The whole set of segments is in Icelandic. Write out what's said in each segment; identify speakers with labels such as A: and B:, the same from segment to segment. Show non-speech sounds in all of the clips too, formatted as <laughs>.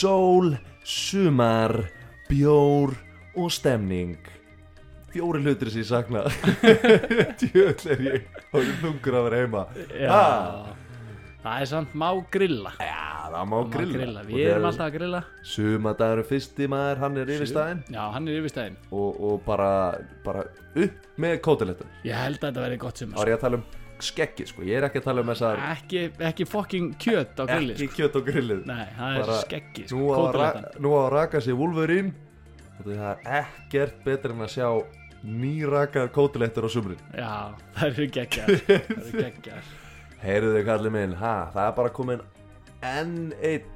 A: Jól, sumar, bjór og stemning Fjóri hlutir sem ég sakna <laughs> Djöðl er ég og ég þungur að vera heima
B: Já,
A: Ah.
B: það er samt má grilla
A: Já, Ah, það má
B: Má
A: grilla,
B: grilla.
A: Og
B: Við
A: þegar-
B: erum alltaf að grilla
A: Sumadagur er fyrsti maður, hann er yfirstæðin
B: Já, hann er yfirstæðin
A: og, og bara, bara upp með kótilettur
B: Ég held að þetta verði gott
A: Þá
B: sumar
A: er ég að tala um skeggi, sko Ég er ekki að tala um
B: sko.
A: þessar
B: ekki, ekki fucking kjöt á grilli
A: ekki
B: sko.
A: kjöt og grillið
B: Nei, það er
A: Bara-
B: skeggi sko.
A: nú á, að ra-
B: Kótilettan.
A: nú á að raka sig Wolverine og það er ekkert betur en að sjá nýrakar kótilettur á sumrin
B: Já, það eru
A: <laughs>
B: geggjar Það eru geggjar
A: heyrðu þau kallið minn, ha, það er bara komin enn einn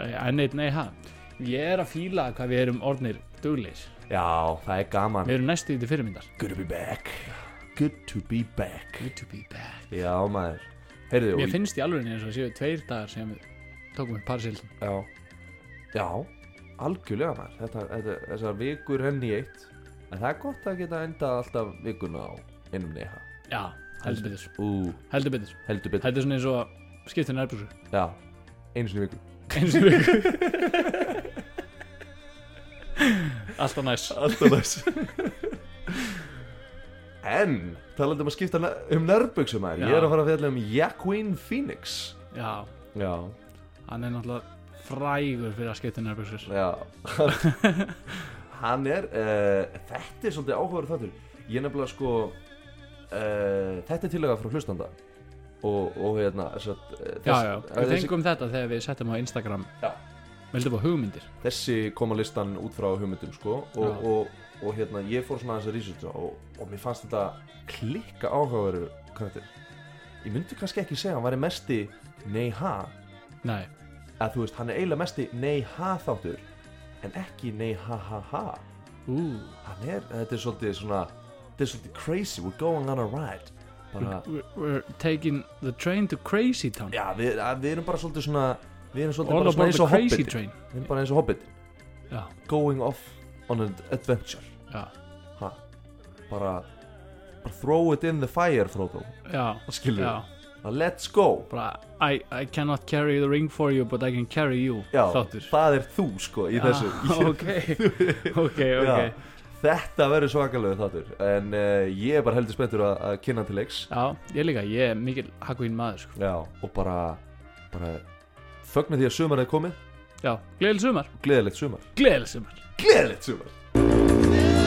B: En Eh, eitt, nei, ha Ég er að fíla hvað við erum orðnir dugleir
A: já, það er gaman
B: Við erum næstu í því fyrirmyndar
A: good to be back good to be back
B: Good to be back
A: já maður, heyrðu
B: Mér
A: og-
B: finnst í alveg eins og séu tveir dagar sem við tókum upp parsildum
A: já, já, algjörlega maður þetta, þetta, þessar vikur henni í eitt en það er gott að geta endað alltaf vikuna á innum neha
B: Já, heldur betur
A: ú,
B: Heldur betur
A: heldur betur,
B: Þetta er svona eins og skiptin erbjörsu
A: já eins og í viku
B: Eins og við Alltaf
A: <laughs>
B: næs
A: Alltaf næs En, talandi um að skipta ne- um nærbuksum að Ég er að fara að fjalla um Joaquin Phoenix
B: Já,
A: Já,
B: hann er náttúrulega frægur fyrir að skiptin erbjörsur <laughs>
A: já Hann er, uh, þetta er svolítið áhugaður þáttur Ég er nefnilega sko uh, Þetta er tilaga frá hlustanda Og, og hérna satt,
B: Já, já, við fengum þetta þegar við settum á Instagram
A: Já.
B: Vildum á hugmyndir
A: þessi koma listan út frá hugmyndum sko og,
B: Já.
A: og, og, hérna ég fór svona aðeins að researcha og, og mér fannst þetta klikka áhugaveru karakter ég myndi kannski ekki segja að hann væri mesti nei ha
B: Nei,
A: að þú veist hann er eiginlega mesti nei ha þáttur en ekki nei ha ha ha
B: ú,
A: hann er, eh, þetta er svolítið svona þetta er svolítið crazy, we're going on a ride bara,
B: we're, we're taking the train to crazy town
A: já við, að, við erum bara svolítið svona við erum svolítið
B: All
A: bara svona
B: about
A: eins
B: the
A: og
B: crazy
A: hobbit
B: train
A: við erum bara eins og hobbit
B: Já,
A: going off on an adventure
B: já,
A: ha, bara, bara throw it in the fire Frodo
B: já,
A: skilur
B: já
A: við, let's go
B: bara I, I cannot carry the ring for you but I can carry you
A: já,
B: þáttur
A: það er þú sko í þessu
B: ah, <laughs> ok, ok, ok
A: <laughs> Já. þetta verður svakalegu þáttur en uh, ég er bara heldur spenntur að, að kynna til leiks
B: Já, ég líka, ég er mikil hakkuinn maður sko.
A: já, og bara, bara fögnu því að sumar er komið
B: Já, gleðil sumar
A: gleðilegt sumar
B: Gleðil sumar
A: gleðilegt sumar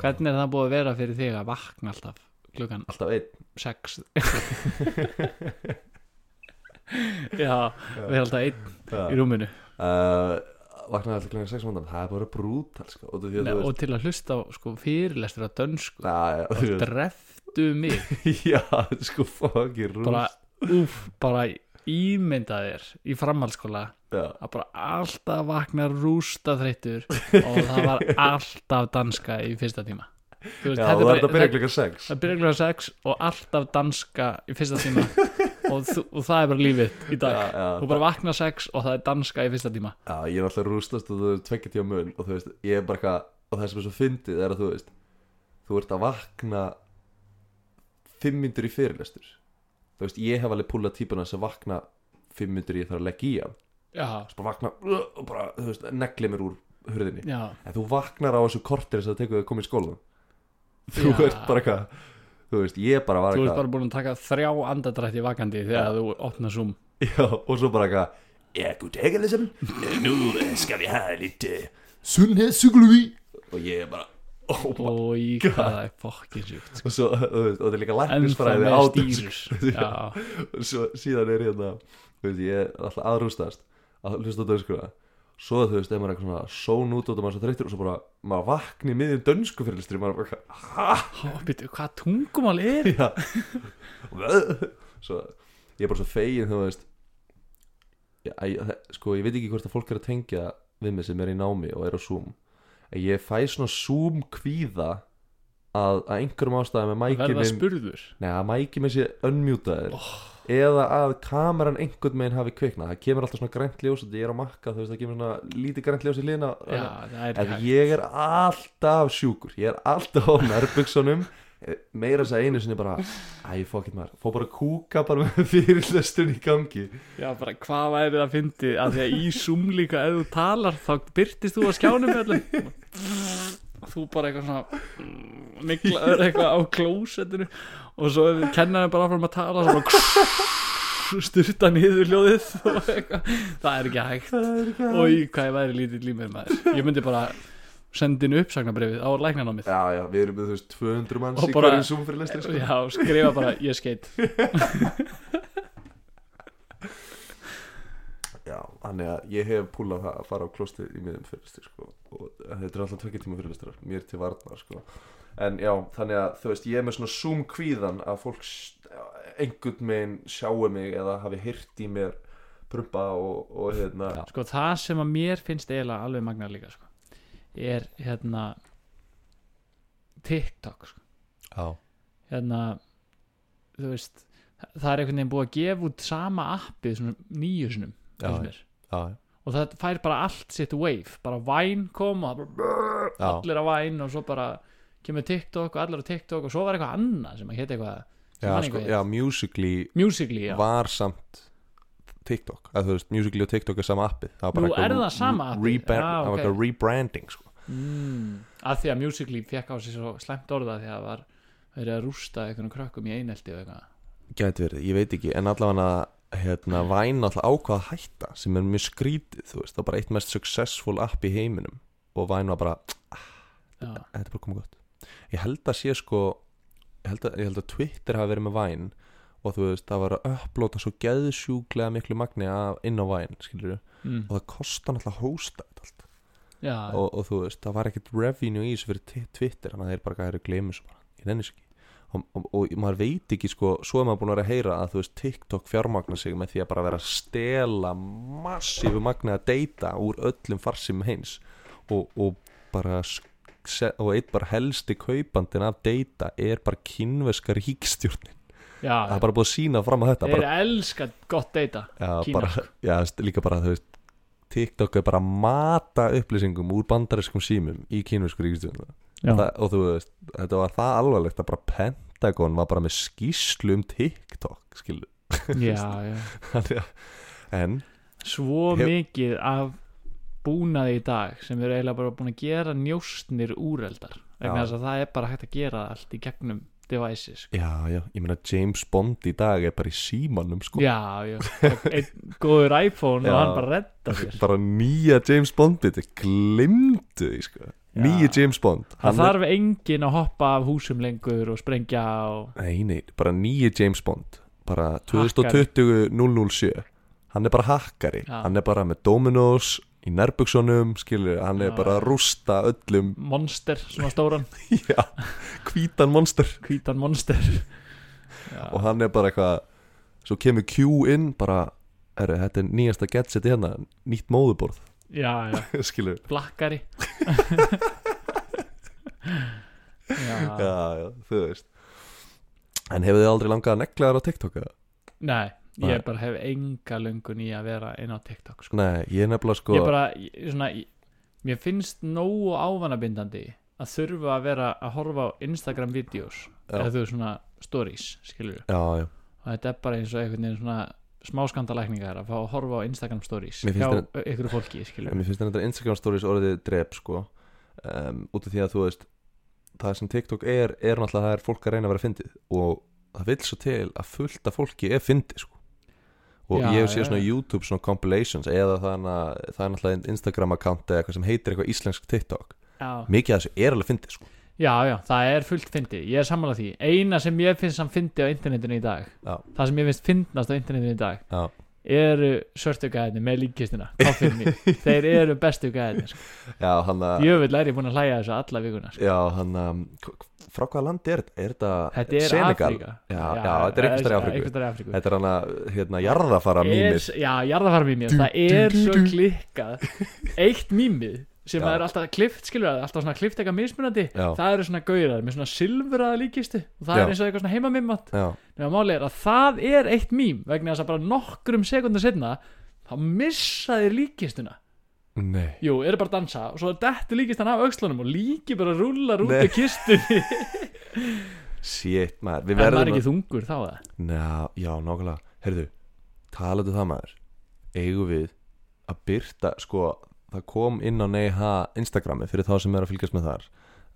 B: Hvernig er það búið að vera fyrir þig að vakna alltaf klukkan
A: alltaf einn
B: 6 <laughs> Já, við erum alltaf einn í
A: uh,
B: rúminu
A: Eh, vaknaði alltaf klæðin 6 mándan það er bara brútal sko og þú því að
B: Nei,
A: þú
B: og
A: veist
B: til að hlusta á sko, fyrirlestur á dönsku
A: Já, já, þú veist-
B: dreftu mig
A: <laughs> já, sko, fucking rúst
B: bara, úf, bara ímynda þér í framhaldsskóla
A: já,
B: að bara alltaf vakna rústa þreyttur og það
A: <laughs>
B: var alltaf danska í fyrsta tíma Þú veist,
A: já
B: þetta
A: það er að byrja
B: það-
A: klukka 6
B: það byrja klukkan 6 og alltaf danska í fyrsta tíma og, þú, og það er bara lífið í dag
A: Já, já.
B: þú bara vakna 6 og það er danska í fyrsta tíma
A: Já, ég er alltaf rústast og þú er tvekkja tíma mun og þú veist, ég er bara eitthvað og það sem er svo fyndið er að þú veist þú ert að vakna fimm myndur í fyrirlestur þú veist, ég hef alveg púlað típuna sem vakna fimm myndur ég þarf að leggja í hann
B: já,
A: Svo bara vakna uh, og bara, þú veist, negli mér úr hurðinni
B: já,
A: en þú vaknar á þessu kortir þess að það tekur þau að koma í skólan þú
B: Já.
A: ert bara eitthvað þú veist, ég bara var
B: þú ert
A: eitthvað
B: bara búin að taka þrjá andadrætti vakandi þegar þú opnar zoom
A: Já, og svo bara eitthvað Já, god dag Elisabeth Eh, Nú eh, skal við hafa litt sunnhetspsykologi Og ég er bara oh, my-
B: og í hvað það er fokkin sjúkt
A: Og svo, þú veist, og þetta er líka
B: en það
A: læknisfræði á
B: með
A: þessu.
B: stýrus já,
A: Og Svo síðan er hérna Þú veist, ég er alltaf aðrústast Að hlusta á dönskuna Svo þú veist, ef maður er eitthvað svona són út og maður er svo þreyttur Og svo bara, maður vakni í miðjum dönsku fyrirlistri Maður er bara, hæ?
B: Ó, býttu, hvað tungumál er
A: Já <laughs> Svo ég er bara svo fegin þú veist ég, æ, það- Sko ég veit ekki hvort að fólk er að tengja við mig sem er í námi og er á Zoom en Ég fæ svona Zoom kvíða að, að einhverjum ástæðum að mæki
B: verða
A: minn
B: spurður
A: Nei að mæki minn sé unmjútaður
C: eða að kameran einhvern meginn hafi kviknað það kemur alltaf svona grænt ljós og ég er á makka þú veist það kemur svona lítið grænt ljós í liðna
B: já, það er
C: en
B: ekki hægt
C: ég er alltaf sjúkur ég er alltaf á nærbuksunum meira þess að segja einu sinni bara æ, fuck it maður, fór bara að kúka bara með <laughs> fyrirlestun í gangi
B: já, bara hvað væri það fyndið af því að í Zoom líka ef þú talar þá byrtist þú á skjánum öllum þú bara eitthvað svona miklaður eitthvað á klósettinu og svo ef kennar bara áfram að tala svo bara styrta niður hljóðið og eitthvað það er ekki hægt og
C: já,
B: í hvað ég væri lítið límið maður ég myndi bara senda inn uppsagnabrifið á læknanámið
C: já, við erum með þú veist 200 manns
B: Og
C: í
B: bara-
C: hverjum zoom fyrirlestri sko.
B: já, skrifa bara ég skeit
C: já, þannig að ég hef púlað það að fara á klostið í miðum fyrirlestri sko. og þetta er alltaf tvekja tíma fyrirlestrar mér til varnar sko. en já, þannig að þú veist, ég er með svona zoom kvíðan að fólk s- einhvern meginn sjáu mig eða hafi hirt í mér prumpa og, og hérna
B: sko það sem að mér finnst eiginlega alveg magna líka sko, er hérna TikTok sko.
C: já.
B: hérna þú veist, það er einhvern veginn búið að gefa út sama appið svona nýju sinum
C: Já,
B: finnst mér.
C: já,
B: og það fær bara allt sitt wave bara Vine kom og það bara,
C: Já.
B: allir að Vine og svo bara kemur TikTok og allir á TikTok og svo var eitthvað annað sem að hétt eitthvað sem
A: já,
B: man
A: sko,
B: eitthvað
A: já,
B: hét.
A: Musical.ly
B: Musical.ly, já,
A: var samt TikTok, að þú veist, Musical.ly og TikTok er sama appið það var bara
B: Nú,
A: eitthvað
B: er það
A: re-
B: sama appið?
A: rebrand,
B: Já,
A: það var
B: ok.
A: eitthvað rebranding sko.
B: mm, að því að Musical.ly fekk á sig svo slæmt orða því að það var verið að rústa einhvern krökkum í einelti og eitthvað
A: gæti verið, ég veit ekki, en allavega hérna, væn alltaf ákvað að hætta sem er mjög skrítið, þú veist, það var bara eitt mest successful app í heiminum og væn var bara,
B: já,
A: þetta er bara komið gott ég held að sé sko ég held að, ég held að Twitter hafi verið með væn og þú veist, það var að upplóta svo geðsjúklega miklu magni af inn á væn, skilur
B: mm,
A: og það kostar náttúrulega að hósta þetta allt
B: já,
A: og, og þú veist, það var ekkert revenue í þessu fyrir Ti- Twitter þannig að þeir bara gæri gleymu svo bara, ég nenni þessu ekki og, og, og maður veit ekki sko, svo er maður búin að vera að heyra að þú veist, TikTok fjármagna sig með því að bara vera að stela massífu magna að deyta úr öllum farsim heins og, og bara s- se- og einn bara helsti kaupandin af deyta er bara kynveska ríkstjórnin
B: já,
A: það er bara búið að sína fram að þetta
B: þeir
A: bara,
B: bara, elska gott deyta
A: já,
B: Kína,
A: bara, já, st- líka bara þú veist TikTok er bara að mata upplýsingum úr bandariskum símum í kynversku ríkstjórnum
B: já,
A: <laughs> það, og þú veist, þetta var það alvarlegt að bara Pentagon var bara með skýslu um TikTok, <laughs> skilur
B: já, já.
A: Þannig að- en,
B: svo
A: Hef-
B: mikið af búnaði í dag sem eru eiginlega bara búin að gera njóstnir úreldar
A: Já.
B: vegna þess að það er bara hægt að gera það allt í gegnum devices sko.
A: já, já, ég meina James Bond í dag er bara í símanum, sko
B: já, já, Og einn góður iPhone og
A: Já.
B: hann bara redda þér
A: bara nýja James Bond þetta glimtu því, sko
B: Já.
A: nýja James Bond
B: það
A: er,
B: þarf enginn að hoppa af húsum lengur og sprengja og
A: nei, nei, bara nýja James Bond bara 2020-007 hann er bara hakkari
B: Já.
A: hann er bara með Dominos í nærbuksunum, skilur, hann er
B: Já.
A: bara að rústa öllum, <laughs>
B: monster, svona stóran
A: já, hvítan monster
B: hvítan monster <laughs>
A: og hann er bara eitthvað svo kemur Q inn bara herru, þetta er nýjasta gadgeti hérna nýtt <laughs> móðuborð,
B: já, já,
A: skilur
B: blakkari já,
A: já, já, þú veist en hefur þið aldrei langað að negla þér á TikTok eða?
B: nei
A: Nei.
B: ég bara hef enga löngun í að vera inn á TikTok sko.
A: nei, ég er nefnilega sko
B: ég bara, ég- svona ég, mér finnst nógu ávanabindandi að þurfa að vera að horfa á Instagram videos
A: Já.
B: eða þú veist svona stories, skilur
A: já, já,
B: og þetta er bara eins og einhvern veginn svona smáskandalækningar að fá að horfa á Instagram stories
A: Mér
B: hjá
A: finnst
B: ykkur fólki, skilur
A: en mér finnst þetta Instagram stories orðið drep sko um, út af því að þú veist það sem TikTok er, er náttúrulega það er fólk að reyna að vera fyndið og það vil svo til að fullt af fólki er fyndið sko og
B: Já,
A: ég hef séð
B: já,
A: svona
B: já.
A: YouTube svona compilations eða þannig að það er náttúrulega Instagram account eða eitthvað sem heitir eitthvað íslensk TikTok
B: já.
A: mikið af þessu er alveg fyndið sko
B: Já, já, það er fullt fyndi, ég er samanlega því Eina sem ég finnst samt fyndi á internetinu í dag
A: Já.
B: Það sem ég finnst fyndnast á internetinu í dag
A: Já.
B: Eru svörtu gæðinni með líkkistina
A: <laughs>
B: Koffinni, þeir eru bestu gæðinni sko.
A: já hann að
B: Jöfull er ég búin að hlæja þessu alla vikuna sko.
A: já hann að frá hvaða land er þetta er þetta
B: Þetta er
A: Senegal?
B: Afríka sko.
A: Já, já, þetta er einhvers staðar í Afríku.
B: einhvers staðar í Afríku.
A: þetta er hann að hérna jarðafara
B: Er-
A: mýmis <laughs>
B: Já, jarðafarum mýmið, það er svo klikkað Eitt mýmið sem
D: Já.
B: það er alltaf klift skilur það, alltaf svona klift eitthvað mismunandi
A: Já.
B: það eru svona gaurar með svona silfraða líkistu og það
A: Já.
B: er eins og eitthvað svona heimamimat
A: já,
B: nema máli er að það er eitt mím vegna þess að bara nokkrum sekundar setna þá missa þeir líkistuna
A: nei
B: jú, eru bara að dansa og svo dettur líkistan af aukslunum og líki bara rúlar út
A: Nei. <laughs>
B: af kistunni
A: Shit maður,
B: en
A: við
B: það er
A: verðum
B: ekki þungur þá það
A: Ná, já, nákvæmlega Herðu, talaðu það maður Eigum við að byrta Sko, það kom inn á neyha Instagrami fyrir þá sem er að fylgjast með þar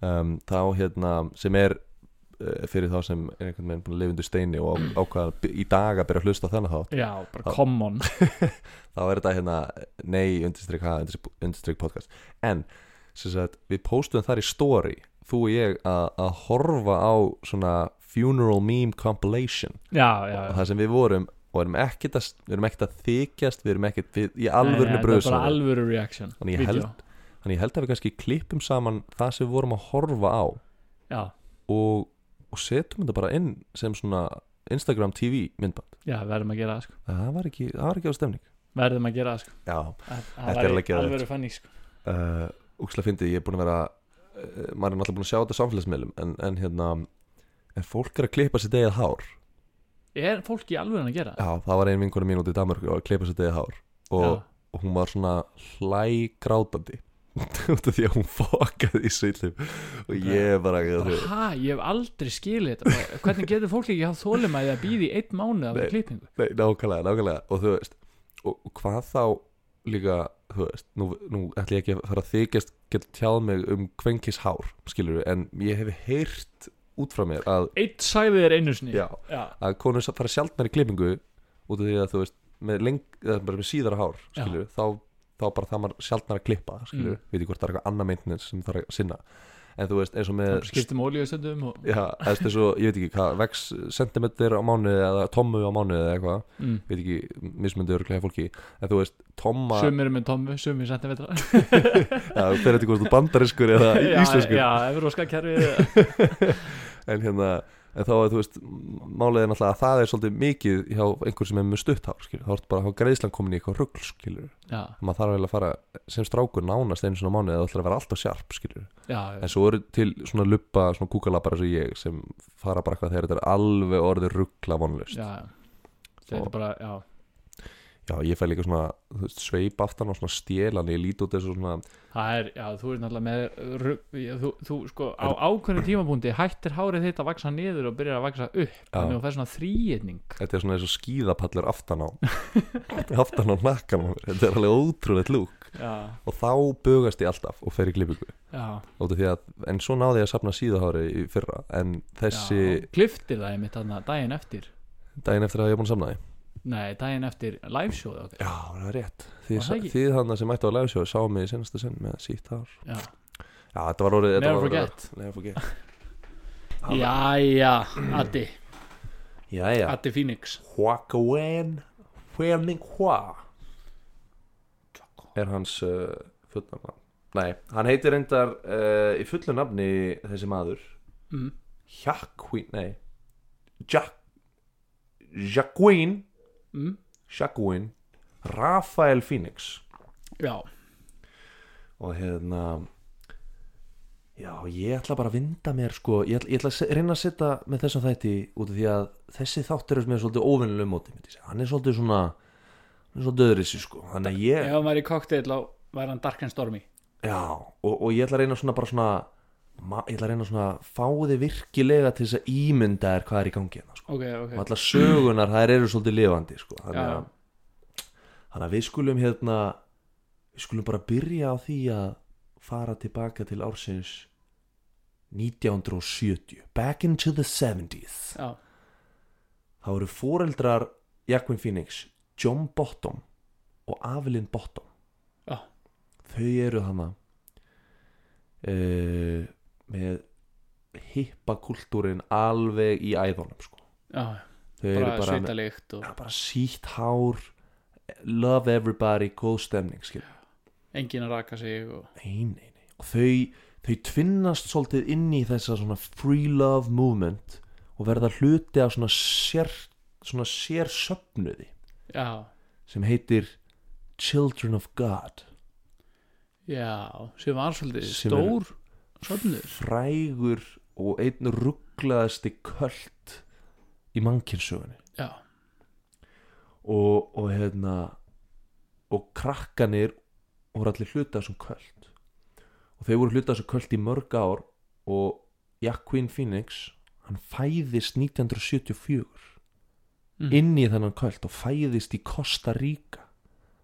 A: um, Þá hérna sem er uh, fyrir þá sem er einhvern veginn búin að lifa undir steini og á- ákvað að by- í dag að byrja að hlusta á þennan þátt
B: já, bara common
A: þá er þetta hérna nei undirstrykk ha undirstrykk podcast en sem sagt við postum þar í story þú og ég að, að horfa á svona funeral meme compilation
B: já, já,
A: og
B: já
A: það sem við vorum og erum ekkert að, við erum ekkert að þykjast við erum ekkert við, í alvörinu
B: Nei, nei, þetta er
A: bröðsum
B: bara alvöru reaction
A: Þannig ég
B: Vídeó.
A: held- þannig ég held að við kannski klippum saman það sem við vorum að horfa á
B: já,
A: og, og setjum þetta bara inn sem svona Instagram TV myndband
B: já, verðum að gera það sko
A: það var ekki, það var ekki á stemning
B: verðum að gera það sko
A: já,
B: það,
A: Þetta er
B: það
A: alveg
B: væri
A: geðveikt.
B: alvöru fannig sko
A: uh, úkslega fyndið, ég er búin að vera uh, maður er náttúrulega búin að sjá þetta á samfélagsmiðlum en, en hérna, en fólk er að klippa sér degið hár,
B: er fólk í alvöru að gera það?
A: já það var ein vinkona mín út í Danmark og að klippa sér degið hár og,
B: Já.
A: og hún var svona hlægrátandi <laughs> út af því að hún fokkaði í svillum og ég bara,
B: bara, <laughs>
A: bara
B: hæ, ég hef aldrei skilið þetta bara, hvernig getur fólk ekki hafa þólum að það býði einn mánuð af
A: Nei.
B: klippingu
A: nei, nákvæmlega, nákvæmlega og þú veist, og, og hvað þá líka, þú veist, nú, nú ætla ég ekki að fara að þykjast geta tjáð mig um kvenkis hár, skilur en ég hef heyrt út frá mér að
B: eitt sæði þér einu sinni
A: Já,
B: já,
A: að konur sa- fara sjaldnar í klippingu út af því að þú veist með, leng, eða bara með síðara hár
B: Já.
A: skilur, þá, þá bara það maður sjaldnar að klippa skilur, mm. veit ég hvort það er eitthvað annað meintnins sem þarf að sinna en þú veist eins og með
B: bara skiptum ólíðastöndum og
A: Eh, já, eða eins og ég veit ekki hvað vex sentimeter á mánuði eða tommu á mánuði eða eitthvað,
B: mm.
A: veit ekki mismunandi örglega fólki, en þú veist tomma,
B: sumir eru með tommu, sumir
A: <laughs>
B: sentimetra
A: ja, fyrir þetta hvort þú bandariskur eða í- íslenskur
B: <laughs> já, evróska kerfið
A: <laughs> en hérna en þá að þú veist, m- málið er náttúrulega að það er svolítið mikið hjá einhver sem er með stutt hár skilur, þá ertu bara að hafa greiðslan komin í eitthvað rugl skilur,
B: já,
A: maður þarf eiginlega að fara sem strákur nánast einu svona mánuð eða þú ætlar að vera alltaf sjarp skilur,
B: já, já,
A: en svo eru til svona luppa, svona kúkalabbar eins og ég sem fara bara eitthvað þegar þetta er alveg orðið ruggla vonlust,
B: já. þetta er bara, já
A: já ég fæ líka svona þú veist, sveip aftan og svona stjelan ég lít út þessu svona,
B: það er, já, þú ert náttúrulega með rugg- já, þú, þú sko, á ákveðinu tímabúndi hættir hárið þitt að vaksa niður og byrjar að vaksa upp þannig að þú fær svona þrýetning
A: þetta er svona eins og skíðapallur aftan á aftan á nakkan á mér, þetta er alveg ótrúlegt lúk
B: já,
A: og þá bugast ég alltaf og fer í klippingu
B: já,
A: út af því að, en svo náði ég að safna síðuhári í fyrra, en þessi
B: já kliftir það einmitt þarna daginn eftir
A: daginn eftir að ég er búin að safna því
B: Nei, daginn eftir liveshow okay.
A: Já, það er rétt
B: Var það
A: Þið,
B: ekki?
A: þið hann sem mættu á lefisjóð sá mig í senasta sinn með sítt hár
B: Já.
A: Já, þetta var orðið þetta
B: Never
A: var orðið-
B: forget.
A: Never
B: <laughs>
A: forget
B: Jæja, Addi
A: Jæja
B: Addi Phoenix
A: Huakawen Huening Hua Er hans uh, fullnafn Nei, hann heitir reyndar uh, í fullu nafni þessi maður
B: mm.
A: Hjakkvín, nei Jack Jackvín
B: Mm.
A: Shaquin Rafael Phoenix
B: Já,
A: og hérna já, ég ætla bara að vinda mér sko, ég ætla, ég ætla að se- reyna að setja með þessum þætti út af því að þessi þáttur er með svolítið óvinnilegum móti myndi ég segja. hann er svolítið svona hann er svolítið öðrisi sko, þannig að ég
B: ef hann væri í cocktail á væri hann Dark and Stormy
A: já, og, og ég ætla að reyna svona bara svona ma- ég ætla að reyna svona að fá þið virkilega til þess að ímynda er hvað er í gangi hérna sko
B: Ok, ok
A: og allar sögunar þær eru svolítið lifandi sko. þannig,
B: Já.
A: að, þannig að við skulum hérna við skulum bara byrja á því að fara tilbaka til ársins 1970 back into the 70s
B: Já,
A: þá eru foreldrar Jakvin Phoenix, John Bottom og Avelin Bottom
B: já,
A: þau eru hana uh, með hippakultúrin alveg í æðunum sko.
B: já
A: þau
B: Bara,
A: eru bara með-
B: sveita lykt og
A: Já, bara sítt hár love everybody, góð stemning skil.
B: enginn að raka sig og
A: nei, nei, nei og þau, þau tvinnast svolítið inn í þessa svona free love movement og verða hluti af svona sér svona sér söfnuði
B: Já,
A: sem heitir Children of God
B: já, sem var svolítið
A: Sem er-
B: stór sofnur
A: frægur og einn rugglaðasti köld í mannkynsögunni
B: já,
A: og, og hérna og krakkanir voru allir hluta þessum köld og þeir voru hluta þessum köld í mörg ár og Joaquin Phoenix hann fæðist 1974
B: Mm.
A: inn í þennan köld og fæðist í Costa Rica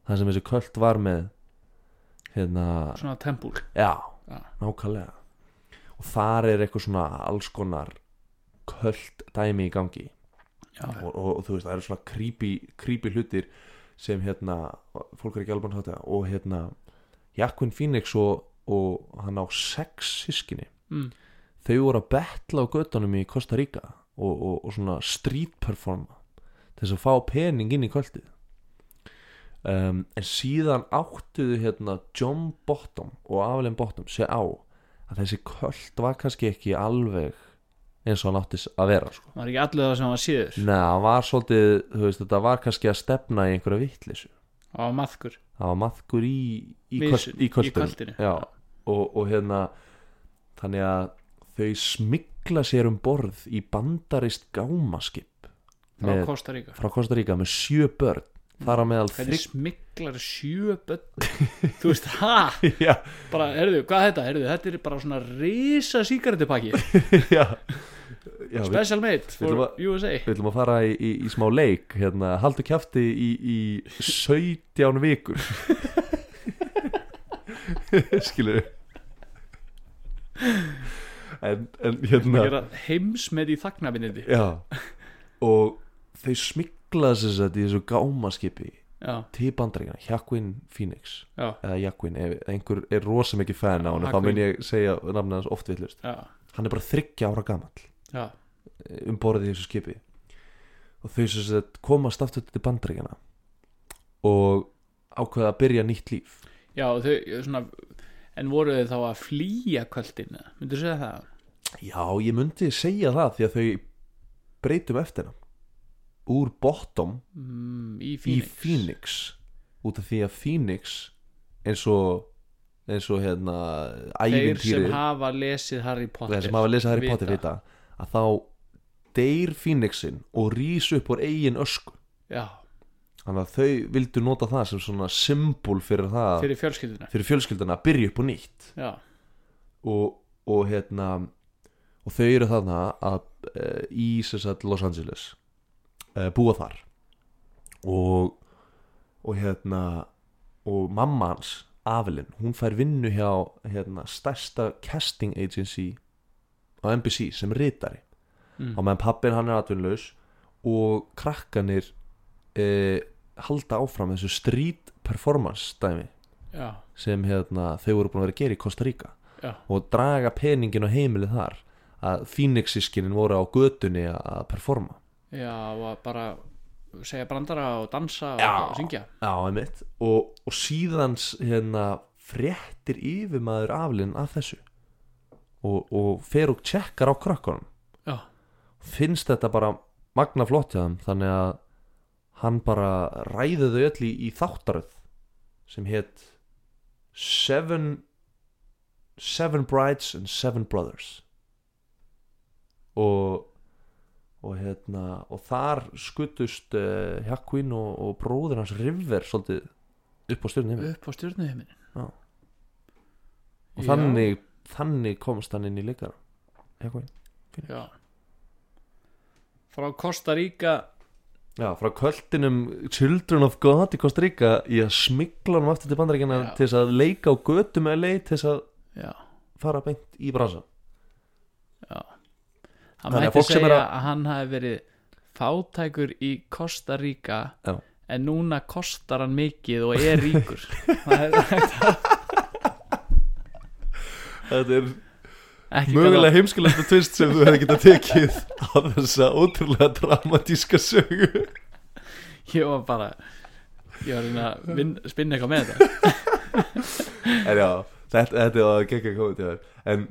A: þar sem þessi köld var með hérna
B: svona tempúl
A: Já,
B: Já.
A: nákvæmlega Og þar er eitthvað svona alls konar köld dæmi í gangi
B: já,
A: og, og, og þú veist, það eru svona creepy, creepy hlutir sem hérna, fólk er ekki alveg hægt að og hérna, Jakvin Phoenix og, og hann á sex sískinni
B: mm.
A: þau voru að betla á göttunum í Costa Rica og, og, og svona street performa til þess að fá pening inn í kvöldið um, en síðan áttuðu hérna John Bottom og Avelin Bottom sé á að þessi kvöld var kannski ekki alveg eins og hann átti að vera sko.
B: var ekki allir það sem var síður
A: Nei, hann var svolítið, þú veist, þetta var kannski að stefna í einhverja vitleysu
B: það var maðkur
A: það var maðkur í, í,
B: Missun,
A: köld, í
B: í
A: kvöldinu
B: kvöldinu.
A: Já, og, og hérna þannig að þau smikla sér um borð í bandarist gámaskip
B: frá
A: með,
B: Costa Rica
A: frá Costa Rica með sjö börn þar á meðal
B: hvernig
A: þrygg
B: smiklar sjö
A: <laughs>
B: börn þú veist, ha,
A: já,
B: bara, heyrðu, hvað er þetta heyrðu, þetta er bara svona risa sígarettupakki
A: já, já við,
B: special made for
A: ætlum að-
B: USA
A: við ætlum að fara í, í, í smá leik hérna, haldu kjafti í, í 17 vikur skilur en, en hérna
B: gera heimsmet í þagnabinindi
A: Já Og þau smiklaði sér þetta í þessu gámaskipi
B: já,
A: til bandaríkina, Hjakuin Phoenix
B: já,
A: eða Hjakuin, ef einhver er rosa mikið fan á hann, þá
B: Joaquin.
A: mun ég segja nafnið hans oft villust.
B: já,
A: Hann er bara þryggja ára gamall
B: já
A: um borðið í þessu skipi og þau sem sagt komast aftur til bandaríkina og ákveða að byrja nýtt líf
B: já, þau, svona en voru þau þá að flýja kvöldinu myndu segja það,
A: Já, ég myndi segja það því að þau breytum eftir hann úr bottom
B: mm, í
A: í
B: Phoenix
A: Phoenix út af því að Phoenix eins og eins og hérna
B: þeir sem
A: ævintýri
B: hafa lesið Harry Potter
A: þeir sem hafa lesað Harry Potter
B: vita.
A: vita að þá deyr Phoenixin og rís upp úr eigin ösku
B: já,
A: þannig að þau vildu nota það sem svona symbol fyrir það fyrir,
B: fyrir fjölskylduna
A: fjölskylduna að byrja upp og nýtt
B: já,
A: og, og hérna og þau eru þarna að e, í sem sagt Los Angeles e, búa þar og og hérna og mamma hans, Avelin hún fær vinnu hjá hérna stærsta casting agency á NBC sem ritari
B: Mm.
A: á meðan pappin hann er atvinnlaus og krakkanir e, halda áfram þessu street performance dæmi
B: já,
A: sem hérna, þau voru búin að vera að gera í Costa Rica
B: Já.
A: og draga peningin og heimilið þar að Phoenix-sískinin voru á götunni að- að performa
B: já og að bara segja brandara og dansa og,
A: Já.
B: og syngja
A: Já, einmitt og, og síðans hérna, fréttir yfirmaður aflinn af þessu og, og fer og tjekkar á krakkanum
B: já,
A: finnst þetta bara magna flott hjá þeim þannig að hann bara ræði þau öll í, í þáttaröð sem hétt Seven Seven Brides and Seven Brothers og og hérna og þar skuttust uh, Hjakkvin og, og bróðir hans River svolítið upp á stjórnum
B: upp á stjórnuhiminin
A: Já. og þannig, þannig komst hann inn í leikar Hjakkvin
B: já frá Costa Rica
A: Já, frá kvöldinum Children of God í Costa Rica í að smigla hann aftur til bandaríkina
B: Já.
A: til þess að leika á götu með leið til þess að
B: já
A: fara beint í bransan
B: Það
A: Þannig að
B: mætti
A: fólk sem
B: segja
A: er
B: að...
A: að-
B: hann hafi verið fátækur í Costa Rica
A: Já.
B: en núna kostar hann mikið og er
A: <laughs>
B: ríkur Það er
A: Þetta er
B: ekki
A: mögulega heimskulegt að tvist sem þú hefði getað tekið á þessa ótrúlega dramatíska sögu
B: gott Ég var bara ég var að reyna að vin, spinna eitthvað með þetta
A: En já, þetta, þetta var gekk að koma til þér En,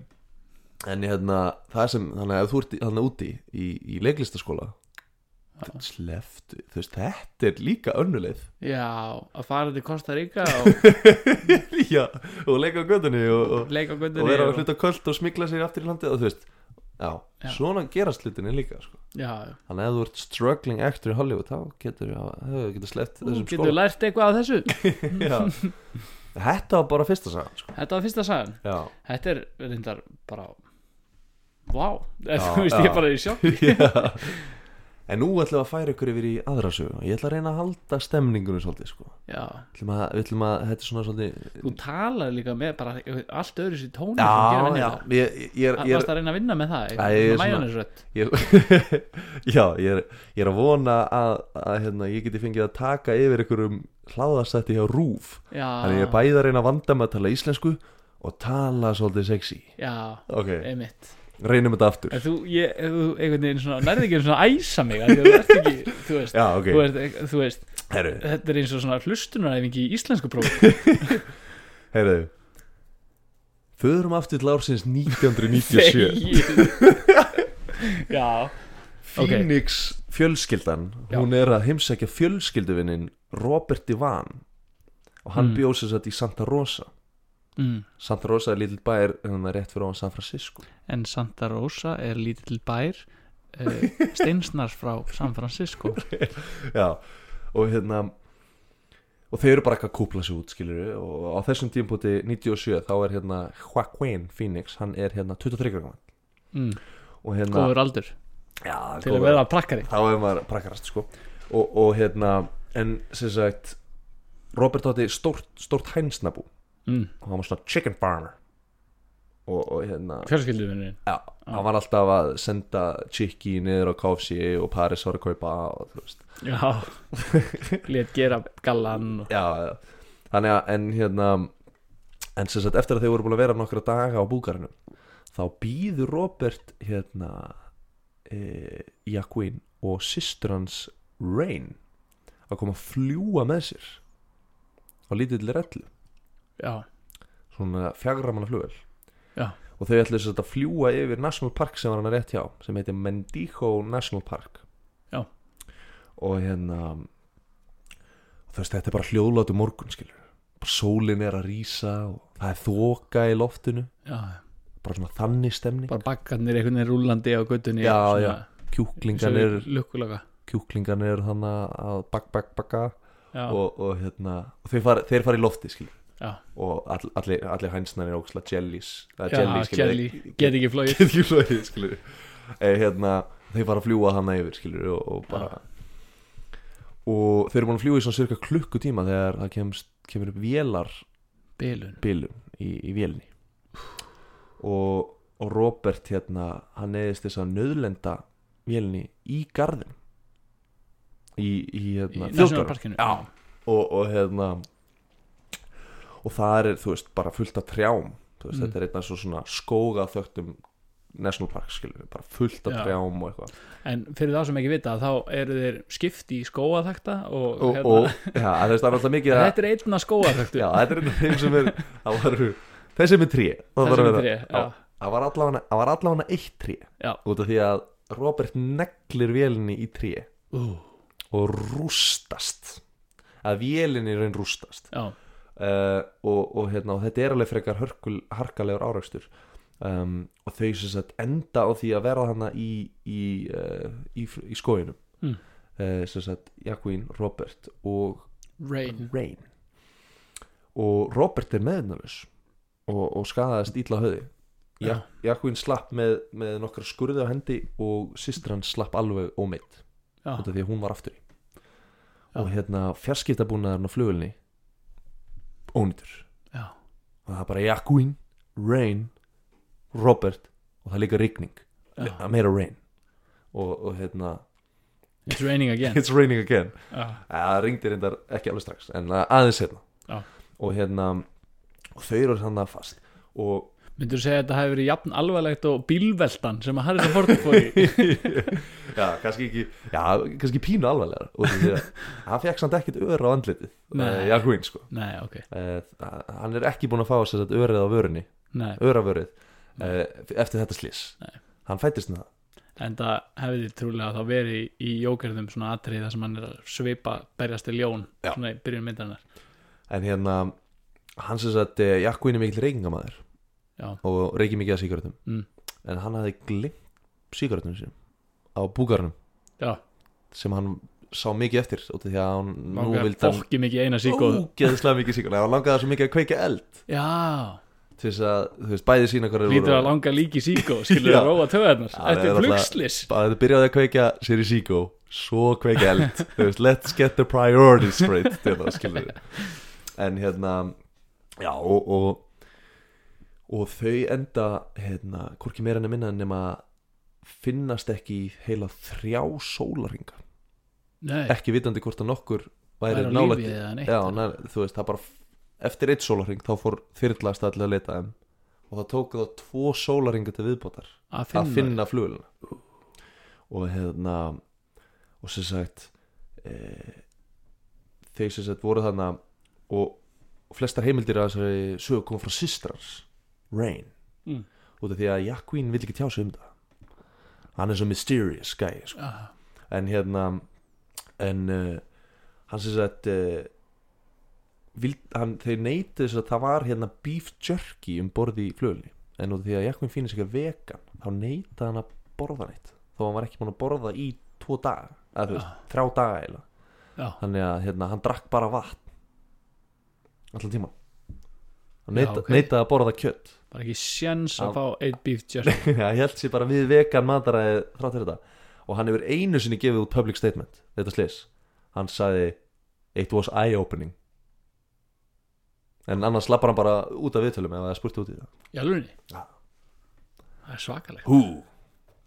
A: en hérna, það sem, þannig að ef þú ert í- þarna úti í, í leiklistaskóla sleftu, þú veist, þetta er líka <laughs> önnuleið
B: Já, að fara til Costa Rica og
A: já, og leika á göttunni og, og,
B: leika á
A: og vera
B: göndinni
A: á hluta kvöld og smikla sér aftur í landið og þú veist, já,
B: Já.
A: svona gerast hlutinni líka sko.
B: Já,
A: þannig að ef þú ert struggling actor í Hollywood þá getur þú getur sleppt
B: þú
A: þessum
B: getur lært eitthvað af þessu
A: skóla
B: <laughs>
A: já. þetta var bara fyrsta sagan sko.
B: Þetta var fyrsta sagan
A: já,
B: Þetta er reyndar bara Vá,
A: Já,
B: þú veist
A: já.
B: ég bara er í sjokk
A: Já. <laughs> en nú ætlum við að færa ykkur yfir í aðra sögu ég ætla að reyna að halda stemningunum svolítið sko.
B: Já,
A: ætlum að, við ætlum að, þetta er svona svolítið
B: þú talar líka með bara allt öðru sér tóni
A: já, já, ég, ég, ég,
B: Varst
A: ég,
B: að reyna að vinna með það
A: Já, ég er svona-
B: Mæjónisrödd
A: ég, <laughs> já, ég er, ég er að vona að, að hérna, ég geti fengið að taka yfir einhverjum hlaðarsætti hjá Rúf þannig ég er
B: Já,
A: bæði að reyna að vanda með að tala íslensku og tala svolítið sexy Eh,
B: já,
A: ok,
B: einmitt
A: reynum þetta aftur
B: En þú, ég, ef þú einhvern veginn svona nærði ekki svona að æsa mig af því að Þú ert ekki, þú veist
A: já,
B: Þú,
A: ok,
B: ert, e- þú veist,
A: herru,
B: þetta er eins og svona hlustunaræfingi í íslensku próf
A: <laughs> herru föðurum aftur til ársins 1997
B: <laughs> Já, Ok.
A: Phoenix fjölskyldan
B: Já.
A: hún er að heimsækja fjölskylduvinnin Robert Ivan og hann
B: Mm.
A: mm. bjóð sér satt í Santa Rosa
B: mm.
A: Santa Rosa er lítill bæir hérna rétt fyrir á San Francisco
B: en Santa Rosa er lítill bær uh, steinsnar frá San Francisco
A: Já, og hérna og þeir eru bara ekki að kúpla sig út skilur og á þessum tímpúti 97 þá er hérna Joaquin Phoenix hann er hérna 23 grann
B: mm.
A: og hérna
B: góður aldur
A: já,
B: til
A: góður.
B: að vera prakkari
A: þá er maður prakkarast sko og, og hérna en sem sagt Robert átti stórt, stórt hænsnabú
B: mm.
A: og hann var svona chicken farmer og, og hérna
B: fjölskylduvinnurinn
A: já, hann var alltaf að senda chicki niður á KFC og Paris var að kaupa og þú veist
B: Já, <laughs> lét gera gallan og...
A: já, já. þannig að en hérna en sem sagt eftir að þeir voru búin að vera nokkra daga á búkarinu þá býður Robert hérna e, Jaquin og systur hans Rain að koma að fljúa með sér á lítill rellu
B: Já,
A: svona fjagra manna flugvel
B: Já.
A: og þau ætlu sem sagt að fljúa yfir National Park sem var hann rétt hjá sem heitir Mendijo National Park
B: Já.
A: og hérna og þú veist þetta er bara hljóðlátu morgun skilur bara sólin er að rýsa og það er þoka í loftinu
B: já,
A: bara svona þannig stemning
B: bara bakkarnir einhvern veginn rúlandi á göttunni
A: Já, kjúklingan er,
B: Lukkulega
A: kjúklingan er þannig að bak bak baka
B: Já,
A: og, og hérna og þeir fara, þeir fara í lofti skilur
B: já,
A: og all, allir, allir hænsnar er óksla jellies eða
B: já,
A: jelly, skilur,
B: jelly, get ekki flóið
A: get ekki flóið skilur e, hérna, þeir fara að fljúa hana yfir skilur og, og bara og þeir eru búin að fljúa í svona cirka klukkutíma þegar það kemst, kemur upp vélarbilum
B: Bilun
A: í, í vélni og, og Robert hérna hann neðist þess að nöðlenda vélni í garðin í, í hérna
B: í
A: þjóðgarðinum.
B: nationalparkinu
A: Já. og, og hérna og það er, þú veist, bara fullt af trjám þú veist,
B: Mm.
A: þetta er einn af svo svona skóga þögtum National Park, skilur við, bara fullt af
B: Já.
A: trjám og eitthvað
B: En fyrir þá sem ekki vita þá eru þeir skipt í skóaþakta og,
A: og,
B: hérna,
A: og já, þú veist, það er alltaf mikið að
B: þetta er einna skóaþaktu
A: já, þetta er einn af þeim sem er það var, þessi með tré það var
B: þessi
A: að
B: með
A: vera-
B: tré já,
A: já. það var allavega það var allavega eitt tré
B: Já.
A: út af því að Robert neglir vélinni í tré
B: Ú,
A: og rústast að vélinni í raun rústast
B: já,
A: uh, og, og, hérna, og þetta er alveg frekar hörkul, harkalegur árakstur um, og þau sem sagt enda á því að vera hana í, í, uh, í, fl- í skóinum
B: Mm.
A: uh, sem sagt Jaquín, Robert og
B: rain
A: Rain og Robert er meðnarlaus og, og skadaðist ítla höði ja. Jaquín slapp með, með nokkra skurði á hendi og systir hann slapp alveg ómeitt
B: já,
A: út af því að hún var aftur í
B: Ah. Já.
A: og hérna fjarskiptabúnaðarinn á flugulni ónýtur
B: já,
A: og það er bara Jakuin, Rain Robert og það er líka rigning
B: já.
A: að meira Rain og, og hérna,
B: It's raining again
A: it's raining again
B: já,
A: Æ, það ringdi reyndar ekki alveg strax en að- aðeins hérna
B: Já.
A: og hérna, og þau eru þannig að fast
B: <laughs>
A: og
B: Myndur segja að þetta hafi verið jafn alvarlegt og bílveltan sem að Harrison Ford fór
A: <laughs>
B: í
A: já, kannski ekki já, kannski pínu alvarlegar út af því að hann fekk samt ekkert öra á andlitið uh,
B: Nei.
A: Jakuin sko
B: Nei, ok,
A: uh, hann er ekki búin að fá sér þetta örið á vörunni
B: nei
A: öravörið uh, eftir þetta slís
B: Nei.
A: hann fættist með það
B: en það hefði trúlega þá verið í- í jókerðum svona atrið þar sem hann er að svipa berjast til ljón
E: Já.
B: svona í byrjun myndarinnar
A: En hérna, hann sem sagt eh, Jakkuinn er mikill reykingamæður
B: Já.
A: og reykir mikið að sígarettum
B: Mm.
A: en hann hafði glimt sígarettum sínum á búgarnum
B: já,
A: sem hann sá mikið eftir út af því að hann nú
B: nú
A: vildi hann
B: fólki mikið í eina síkóð
A: ógeðslega mikið sígarettum hann langaði svo mikið að kveika eld
B: já,
A: til þess að, þú veist, bæði sína hverju
B: lítur að langa líki síkóð skilur
A: Já.
B: að róa töðarnar
A: Já, það
B: þetta
A: er
B: er
A: náttúrulega-
B: flugslis
A: að þið byrjaði að kveika sér í síkó svo kveika eld Þú veist, let's get the priorities straight þetta, skilur við. en hérna já og og, og þau enda hérna, hvorki meira enn að minna nema finnast ekki í heila þrjá sólaringa
B: nei,
A: ekki vitandi hvort að nokkur
B: það
A: væri
B: er á
A: nálægt
B: lífið eða neitt
A: já, nær, þú veist, það bara eftir eitt sólaring þá fór þyrlaðast allir að leita þeim og það tók þá tvo sólaringa til viðbótar
B: að
A: að finna flugulina og hérna og sem sagt e, þeir sem sagt voru þarna og, og flestar heimildir að þessari sögur kom frá systrans Rain
B: Mm.
A: út af því að Jakkuín vil ekki tjá sig um það hann er svo mysterious guy sko.
B: Ah.
A: en hérna en uh, hann sem sagt uh, vild, hann, þeir neytið þess að það var hérna beef jerky um borði í flugulni en út af því að Jakobin finnir sig að vegan þá neyta hann að borða neitt þó hann var ekki búin að borða í tvo daga eða þú veist,
B: Ah.
A: þrjá daga eða
B: Já.
A: þannig að hérna, hann drakk bara vatn allan tíma hann
B: Já,
A: neyta,
B: ok.
A: neytaði að borða kjött
B: bara ekki sjens
A: Já.
B: að fá eitt beef jerky
A: hann held sér bara við vegan mataræði þrátt fyrir þetta og hann hefur einu sinni gefið út public statement þetta slis, hann sagði it was eye opening en annars slappar hann bara út af viðtölum ef það er spurt út í það
B: í alveg
A: Já.
B: það er svakalega
A: Hú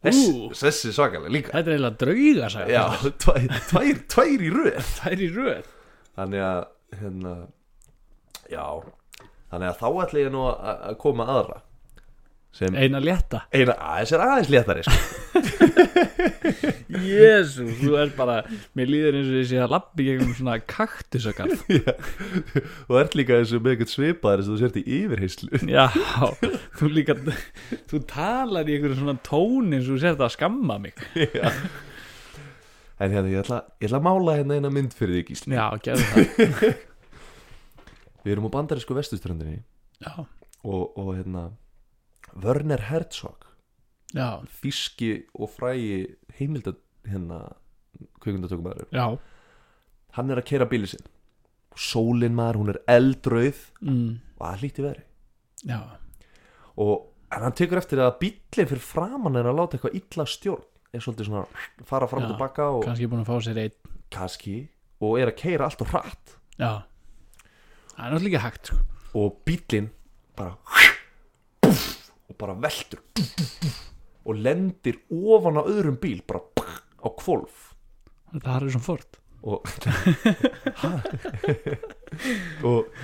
A: Þessi,
B: Hú.
A: þessi svakalega líka
B: þetta er eiginlega drauga sagði
A: Já, <laughs> tvær, tvær, tvær í röð
B: það er í röð
A: Þannig að hérna, Já Þannig að þá ætla ég nú að- að koma aðra Sem
B: eina létta
A: eina aðeins er aðeins léttari sko.
B: Jésu, þú er bara Mér líður eins og ég sé að lappi gegnum svona kaktusakarð
A: Þú ert líka eins og með eitthvað svipaðar sem þú sért í yfirheyslu
B: Já, þú líka Þú talar í einhverjum svona tón eins og þú sér það að skamma mig
A: En hérna, ég ætla, ég ætla að mála hérna eina mynd fyrir því gísli
B: Já, gerðu það
A: Við erum á bandarísku vestuströndinni
B: Já,
A: og, og hérna Werner Herzog
B: já,
A: Físki og frægi heimilda hérna kvikundatökumæður
B: já
A: hann er að keira bíli sinn og sólin maður, hún er eldrauð
B: mm,
A: og það hlíti veri
B: Já,
A: og en hann tekur eftir að bílinn fyrir framann er að láta eitthvað illa stjórn er svolítið svona fara fram og
B: Já,
A: tilbaka og
B: kannski búin að fá sér einn
A: kannski og er að keira allt og hratt
B: Já Það er náttúrulega ekki hægt sko.
A: og bílinn bara og bara veldur og lendir ofan á öðrum bíl bara á kvolf
B: Það er svona fort
A: og Ha? og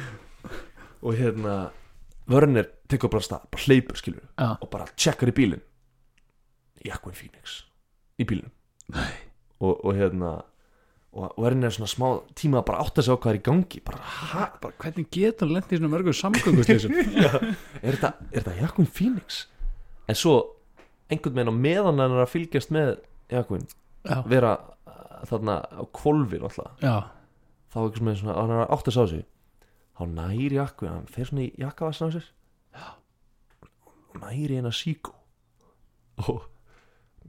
A: og hérna Vörnir tekur bara af stað, bara hleypur skilur
B: Já.
A: og bara tjekkar í bílinn Jakobin Phoenix í bílinn og, og hérna og Vörnir er svona smá tíma að bara átta sig á hvað er í gangi bara, ha, bara
B: Hvernig getur hann lent í svona mörgum <laughs> samgöngustlýsum?
A: er þetta, er þetta Jakobin Phoenix en svo einhvern veginn á meðan hann er að fylgjast með Jakobin
B: já,
A: vera uh, þarna á kvolfin alltaf
B: já,
A: þá ekki sem er svona, hann er að átta sig á sig þá næri jakku, hann fer svona í jakkavassin á sér og næri eina síkó og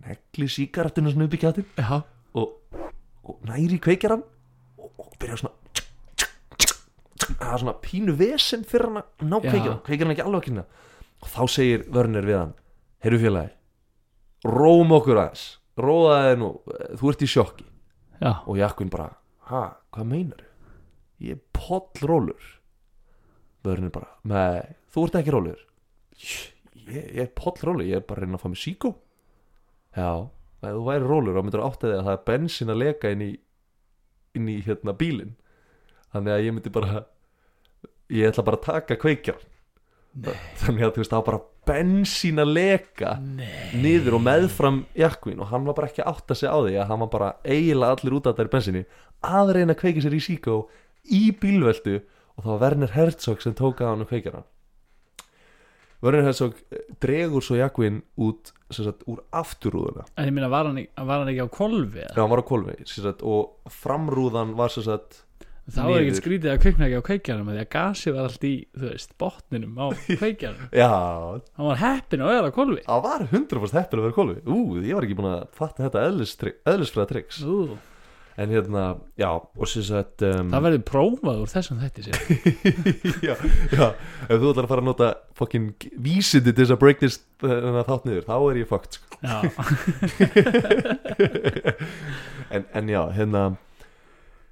A: negli síkarettinu svona upp í kjáttin
B: já,
A: og, og næri kveikjar hann og, og byrja svona það er svona pínu vesen fyrir hann að ná
B: Já.
A: kveikjar hann kveikjar hann ekki alveg að kynna og þá segir vörnir við hann heyrðu félagi róm okkur aðeins róðaði nú, þú ert í sjokki
B: já,
A: og Jakkuinn bara ha, hvað meinar ég er pollrólur vörðin er bara, nei, þú ert ekki rólur ég, ég er pollrólur ég er bara að reyna að fá mig síkó já, ef þú væri rólur þá myndir þú áttið að það er bensin að leka inn í inn í hérna bílinn þannig að ég myndi bara ég ætla bara að taka kveikjar þannig að þú veist það var bara bensín að leka
B: Nei.
A: niður og meðfram jakkvin og hann var bara ekki að átta sig á því að hann var bara eiginlega allir út af þær bensinni að reyna að kveiki sér í síkó í bílveldu og það var Werner Herzog sem tók að hann og kveikjar hann Vörnir Herzog eh, dregur svo jakvin út sem sagt úr afturrúðuna
B: En ég meina, var hann, ekki- var hann ekki á kolvi?
A: þegar hann var á kolvi sem sagt og framrúðan var sem sagt
B: Þá var ekki
A: niður.
B: skrítið að kveikna ekki á kveikjanum af Því að gasið var allt í, þú veist, botninum á
A: <laughs>
B: kveikjanum
A: já,
B: Hann var heppin að vera á kolvi
A: það var 100% heppin að vera á kolvi Ú, ég var ekki búin að fatta þetta eðlistri- eðlisfræða triks
B: Ú,
A: en hérna, já, og sem sagt um,
B: Það verður prófað úr þessum
A: <laughs>
B: þetta sér
A: já, já, ef þú ætlar að fara að nota fucking vísindi til þess að break this þennan þátt niður, þá er ég fucked sko. <laughs>
B: Já,
A: en, en já, hérna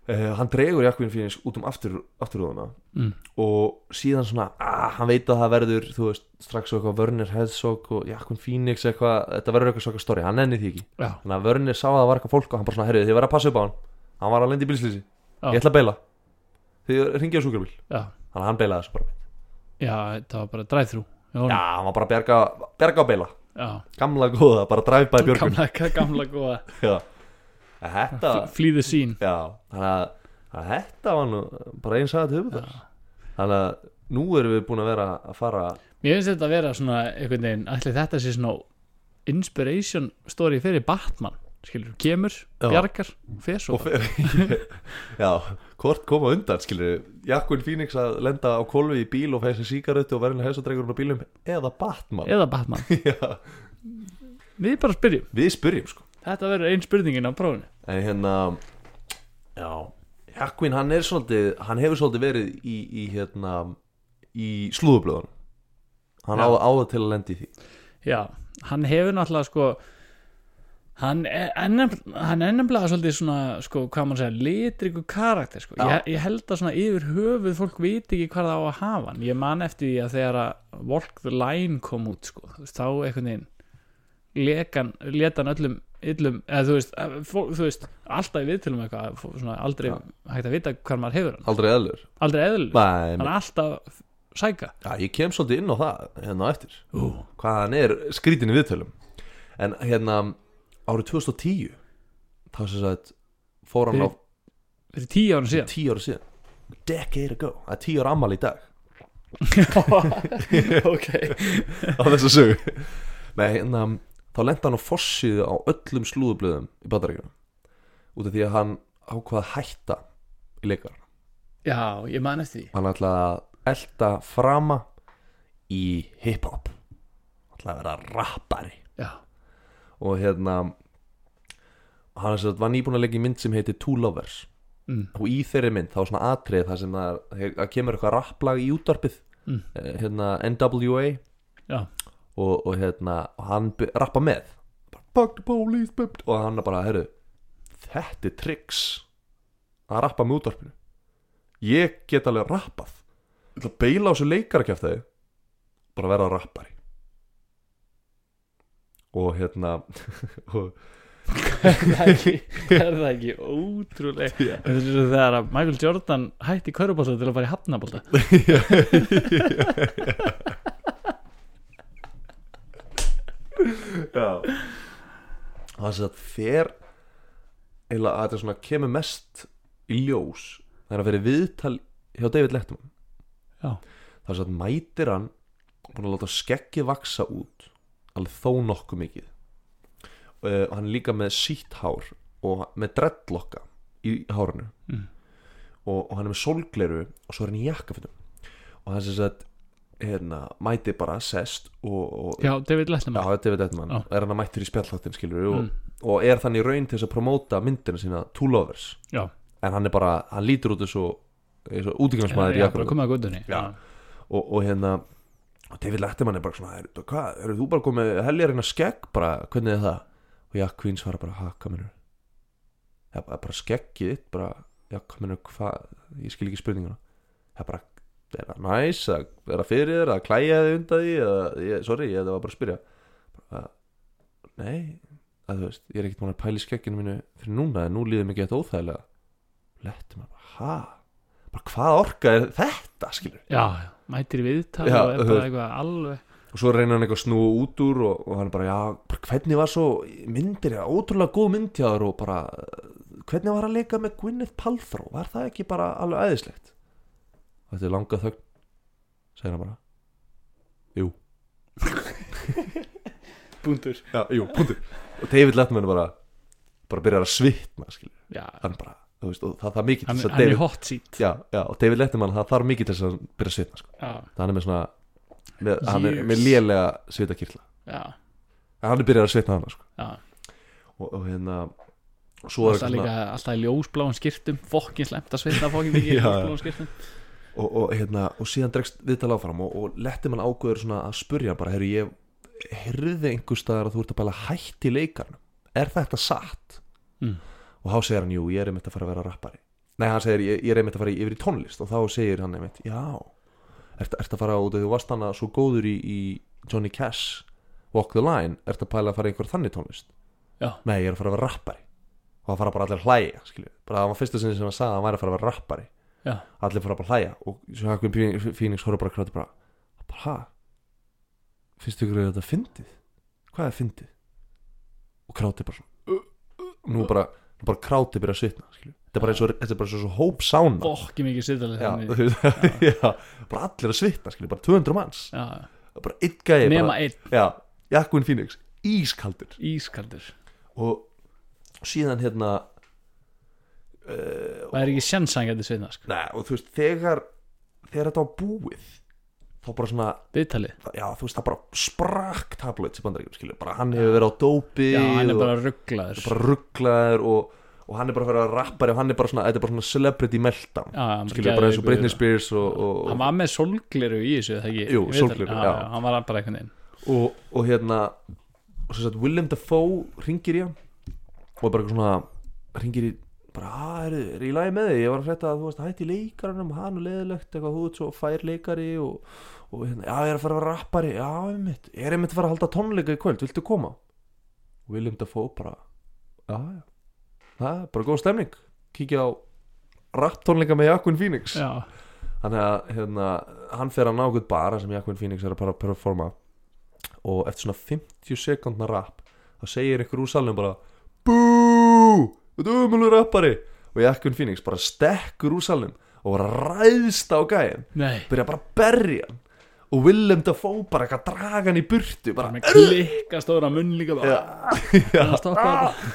A: uh, hann dregur jakvinn fyrir út um aftur, afturrúðuna
B: mm.
A: og síðan svona, ah, hann veit að það verður þú veist, strax svo eitthvað Vörnir Headsog og Jakvinn Phoenix eitthvað, þetta verður eitthvað svaka story, hann nenni því ekki
B: já,
A: þannig að Vörnir sá að það var eitthvað fólk og hann bara svona, herrið, þið verður að passa upp á hann hann var að lenda í bílslýsi,
B: Já.
A: ég ætla að beila þið ringið á sjúkrabíl,
B: já
A: þannig að hann beilaði þessu bara
B: Já, það var bara drive-thru
A: já, hann var bara að bjarga, bjarga og beila
B: já.
A: gamla góða, bara dræpa í björgun
B: Gamla, gamla góða
A: já. En þetta
B: Flýðu sín
A: já, þannig að, að þetta var nú bara eins aðeins höfum þar þannig að nú erum við búin að vera að fara
B: Mér finnst þetta að vera svona einhvern veginn Ætli þetta sé svona inspiration story fyrir Batman Skilur, kemur,
A: Já.
B: bjargar, fer svo
A: og fer <laughs> já, hvort koma undan skilur Jakkuinn Fínings að lenda á kolvi í bíl og fæsa síkarötu og verðin hæsadregurinn á bílum eða Batman
B: Eða Batman
A: <laughs> já.
B: Við bara spyrjum,
A: við spyrjum sko
B: þetta verður einn spurningin á prófinu
A: en hérna já, Jakkuinn hann er svolítið hann hefur svolítið verið í, í hérna í slúðublöðan hann
B: Já.
A: áða, áða til að lenda í því
B: Já, hann hefur náttúrulega sko Hann er hann er- hann er nefnilega svolítið svona, sko, hvað mann segja, litriku karakter, sko.
A: Já.
B: Ég, ég held að svona yfir höfuð fólk viti ekki hvað það á að hafa hann. Ég man eftir því að þegar að Walk the Line kom út, sko, þú veist, þá einhvern veginn lekan, letan öllum, illum, eða þú veist, að fólk, þú veist, alltaf í viðtölum eitthvað, fó- svona aldrei
A: Já.
B: hægt að vita hvað maður hefur hann.
A: aldrei eðlur
B: Aldrei eðlur,
A: Nei,
B: hann
A: nei.
B: er alltaf sæka.
A: já, ég kem svolítið inn á það hérna á eftir
B: Ú,
A: hvað hann er skrítin í viðtölum en hérna árið 2010 þá sem sagt fór hann á
B: fyrir tíu ára síðan.
A: 10 ára síðan decade ago, það er 10 ára ammali í dag <laughs>
B: ok.
A: á þessa sögu Nei, hérna, þá lenda hann á fossiðu á öllum slúðublöðum í bandaríkjunum út af því að hann ákvað að hætta í leikar
B: Já, ég man eftir því
A: hann ætlaði að elta frama í hiphop ætlaði að vera rappari
B: Já, <laughs>
A: og hérna hann er sem sagt- var nýbúin að leggja í mynd sem heitir Two Lovers
B: mm.
A: og í þeirri mynd þá er svona atrið þar sem það, er, það kemur eitthvað rapplag í útvarpið
B: Mm.
A: eh, hérna NWA
B: já,
A: og, og hérna og hann by- rappa með Bara, Fuck the police bup, og hann er bara, herru þetta er tricks að rappa með útvarpinu ég get alveg rappað ég ætla að beila á þessu leikarakjaftaði bara verða rappari og hérna og
B: er það ekki, er það ekki ótrúleg
A: Já.
B: Þetta er svo þegar að Michael Jordan hætti körubólta til að fara í hafnabólta
A: Já Það er að fer eða að þetta svona kemur mest í ljós það er að fyrir viðtal hjá David Letterman
B: Já.
A: Það er að mætir hann búin að láta skeggið vaksa út alveg þó nokkuð mikið Eh, og hann er líka með sítt hár og með dreadlokka í hárinu
B: Mm.
A: og, og hann er með sólgleru og svo er hann í jakkafutum og hann sem sagt hérna, mæti bara sest og, og
B: Já, David Letterman
A: Já, David Edman
B: Já.
A: er hann að mættur í spjallháttin skilur og,
B: Mm.
A: og er þannig í raun til þess að promóta myndina sína Two Lovers
B: Já,
A: en hann er bara, hann lítur út eins og, eins og útigangsmaður í
B: já, bara
A: jakkanum
B: komið að guttunni
A: Já. og, og hérna og David Letterman er bara svona er, hvað, eru þú bara komið heljarinn að skegg bara, hvernig er það og Jack Queen svarar bara, ha, hvað minnur það er bara- bara skeggið þitt bara, já, hvað minnur, hvað ég skil ekki spurninguna það er bara, er það næs það er það fyrir þér, það klæja þig undan því eða, ég, sorry, ég, það var bara að spyrja bara, nei að þú veist, ég er ekkert búin að pæla í skegginu mínu fyrir núna, en nú líður mér gett óþægilega Letterman, bara, ha bara hvað orka er þetta, skilur
B: já, já, mætir í viðtal
A: Já,
B: og er
A: þú
B: bara
A: veist.
B: eitthvað alveg
A: og svo reynir hann eitthvað að snúa út úr og, og hann bara, já, bara, hvernig var svo myndir, já, ótrúlega góð mynd hjá þér og bara, hvernig var að leika með Gwyneth Paltrow, var það ekki bara alveg æðislegt og þetta er langa þögn segir hann bara, jú
B: Búndur
A: já, jú, punktur og David Letterman bara bara byrjar að svitna skilur.
B: Já,
A: hann bara, þú veist, og það þarf mikið til
B: hann,
A: þess að
B: hann er
A: David,
B: hot seat
A: já, já, og David Letterman það þarf mikið til þess að hann byrja að svitna sko.
B: Já,
A: það hann er með svona með, hann er
B: Years.
A: með lélega svitakirla
B: já,
A: en hann er byrjar að svitna hann sko.
B: já
A: og, og hérna og svo er
B: Alltaf
A: eitthvað
B: líka
A: svona
B: alltaf í ljósbláum skirtum Fokkin slemt að sveita fokkin mikið
A: Já,
B: í
A: <laughs> já.
B: ljósbláum skirtum
A: og, og, hérna, og síðan dregst viðtal áfram og, og Letterman ágöður svona að spurja hann bara, herru, ég heyrði einhvers staðar að þú ert að bæla hætt í leikarnum er þetta satt?
B: Mm.
A: og þá segir hann, jú, ég er einmitt að fara að vera rappari nei, hann segir, ég, ég er einmitt að fara í- yfir í tónlist og þá segir hann einmitt, já ert, ert að fara út af því þú varst hana svo góður í, í Johnny Cash Walk the Line, ert að pæla að fara í einhver þannig tónlist
B: Já.
A: nei, ég er að fara að vera rappari og það fara bara allir að hlæja, skilju bara það var fyrsta sinni sem hann sagði að hann væri að fara að vera rappari
B: Já.
A: allir fara bara að hlæja og svo Hakvin Phoenix horfður bara að kráta bara, bara hæ, finnst ykkur að þetta fyndið? Hvað er fyndið? Og kráti bara svona "Uh, uh," nú bara, nú bara kráti byrja að svitna skilju. þetta er bara eins og, þetta er bara eins og svo hóp sána
B: Fokkin mikið
A: já,
B: sýttalega
A: þú veist, <laughs> já, bara allir að svitna skilju, bara 200 manns
B: já,
A: bara einn gæði
B: Nema
A: bara,
B: einn,
A: já, Jakobin Phoenix, ískaldur
B: ískaldur
A: og síðan hérna uh,
B: Það er ekki sjensan gæti sveita sko.
A: Nei, og þú veist, þegar þegar þetta var búið þá bara svona,
B: Viðtalið
A: já, þú veist, það bara sprakk tablet sem bandaríkjum, skilur, bara hann hefur verið á dópi
B: Já, hann er
A: og
B: bara rugglaður Já,
A: bara rugglaður og, og hann er bara að vera rappari og hann er bara svona, þetta er bara svona celebrity meltdown,
B: hann
A: skilur, bara eins og
B: geðveikur.
A: Britney Spears og, og,
B: Hann var með solgleru í þessu, það ekki?
A: Jú,
B: Ég veit alveg.
A: sólgleru, já.
B: já Hann var bara einhvern veginn
A: og, og hérna og svo sagt Willem Dafoe ringir í hann og er bara eitthvað svona ringir í bara, "Ah, er, er í lagi með þig, ég var að frétta að þú varst að hætti leikaranum, hann og leðilegt eitthvað, þú ert svo fær leikari og, og hérna, já, ég er að fara að vera rappari já, einmitt, ég er einmitt að fara að halda tónleika í kvöld viltu koma? Willem Dafoe bara, já, já það er bara góð stemning, kíkja á rapp tónleika með Jakun Phoenix
B: Já,
A: Þannig að hérna, hann fer að ná einhvern bara sem Jakobin Phoenix er að bara performa og eftir svona 50 sekundna rap þá segir einhver úr salnum bara Bú, þetta er umhullu rappari og Jakobin Phoenix bara stekkur úr salnum og bara ræðst á gæin
B: nei
A: byrja bara að berja hann og Willem Dafoe bara eitthvað að draga hann í burtu bara
B: Bara með klikka stóra munn líka bara <laughs>
A: Já. Ah!
B: Það stoppa bara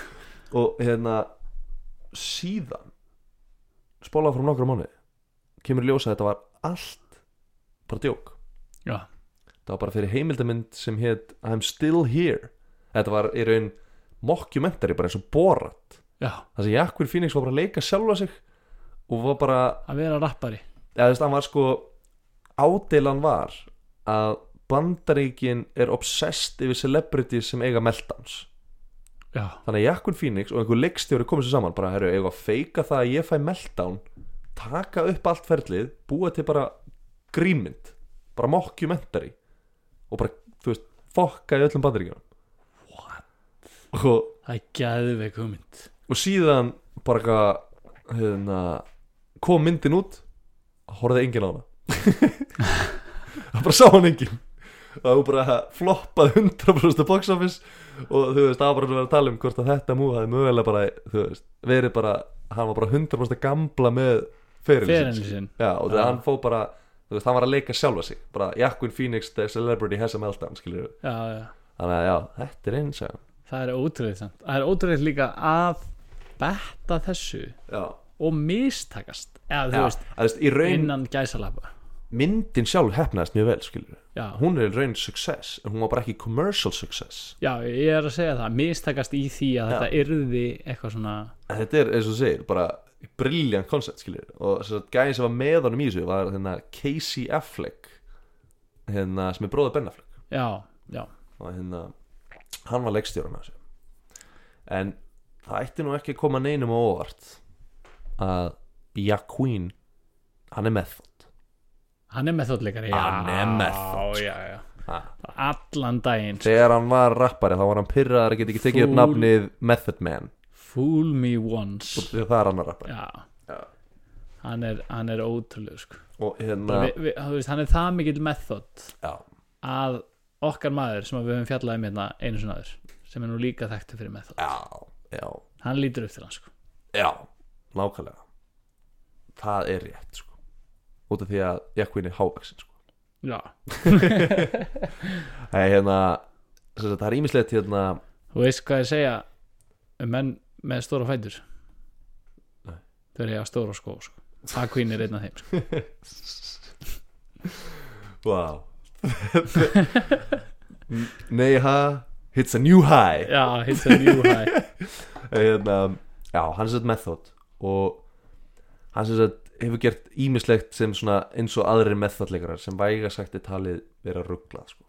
A: og hérna síðan spólað frá nokkra mánuði kemur í ljós að þetta var allt bara djók
B: Já.
A: það var bara fyrir heimildamind sem hétt I'm still here þetta var í raun mockumentary bara eins og borat
B: Já,
A: það sem Jakkur Phoenix var bara að leika sjálfa sig og var bara
B: að vera rappari
A: eða þú veist, hann var sko ádeilan var að bandaríkin er obsessed yfir celebrities sem eiga meltdowns
B: Já,
A: þannig að Jakun Phoenix og einhver leikstjóri komið sér saman bara, herru, eigum að feika það að ég fæ meltdown taka upp allt ferlið búa til bara grímynd bara mockumentary og bara, þú veist, fokka í öllum bandaríkjum What? Og,
B: það er geðveik hugmynd
A: og síðan bara eitthvað hérna, kom myndin út horfði enginn <laughs> á hana það bara sá hann enginn það var bara floppað 100% box office og þú veist það var bara að vera að tala um hvort að þetta múið hafði mögulega bara þú veist verið bara hann var bara 100% gamla með ferilinn
B: Ferenli
A: sinn.
B: sinn
A: já og það
B: Já.
A: hann fó bara þú veist hann var að leika sjálfa sig bara Jakun Phoenix the celebrity has a meltdown skilur
B: Já, já,
A: þannig að já þetta er eins já
B: það er ótrúið samt Það er ótrúið líka að betta þessu
A: já
B: og mistakast eða þú veist,
A: að þú veist í raun
B: innan gæsalappa
A: myndin sjálf hefnaðist mjög vel skilur
B: Já.
A: hún er í raun success en hún var bara ekki commercial success
B: Já, ég er að segja það, mistakast í því að þetta yrði eitthvað svona
A: en þetta er eins og þú segir bara brilliant concept skilur og þess að gæði sem var með honum í þessu var hérna Casey Affleck hérna sem er bróður Ben Affleck
B: Já, já,
A: og hérna hann var leikstjóran af þessu en það ætti nú ekki að koma neinum á óvart að Jaquín hann er method
B: hann er methodleikari já,
A: Hann er method,
B: Já, já, já
A: ha.
B: Allan daginn
A: þegar hann var rappari þá var hann pyrraðar að geta ekki tekið upp
B: Fúl.
A: nafnið Method Man
B: Fool me once
A: það er annar rappari
B: Já,
A: Já.
B: hann er, hann er ótrúlega sko.
A: og
B: Bara
A: hérna
B: vi, vi, þú veist, Hann er það mikill method
A: já,að
B: að okkar maður sem að við höfum fjallað um hérna einu svona aður sem er nú líka þekktu fyrir method
A: já, já,
B: Hann lítur upp til hann sko
A: já nákvæmlega það er rétt sko út af því að jakkvinn er hávaksin sko
B: já,
A: Nei, hérna sem sagt, Það er ímislegt hérna
B: þú veist hvað ég segja um menn með stóra fætur
A: Nei.
B: þau eru ég að stóra skó sko. það kvín er einn af þeim sko.
A: Wow <laughs> Nei, ha Hits a new high
B: já, hits a new high
A: hérna, já, hann er sett method og hann sem sagt hefur gert ímislegt sem svona eins og aðrir methodleikarar sem væga sagt er talið vera rugglað sko.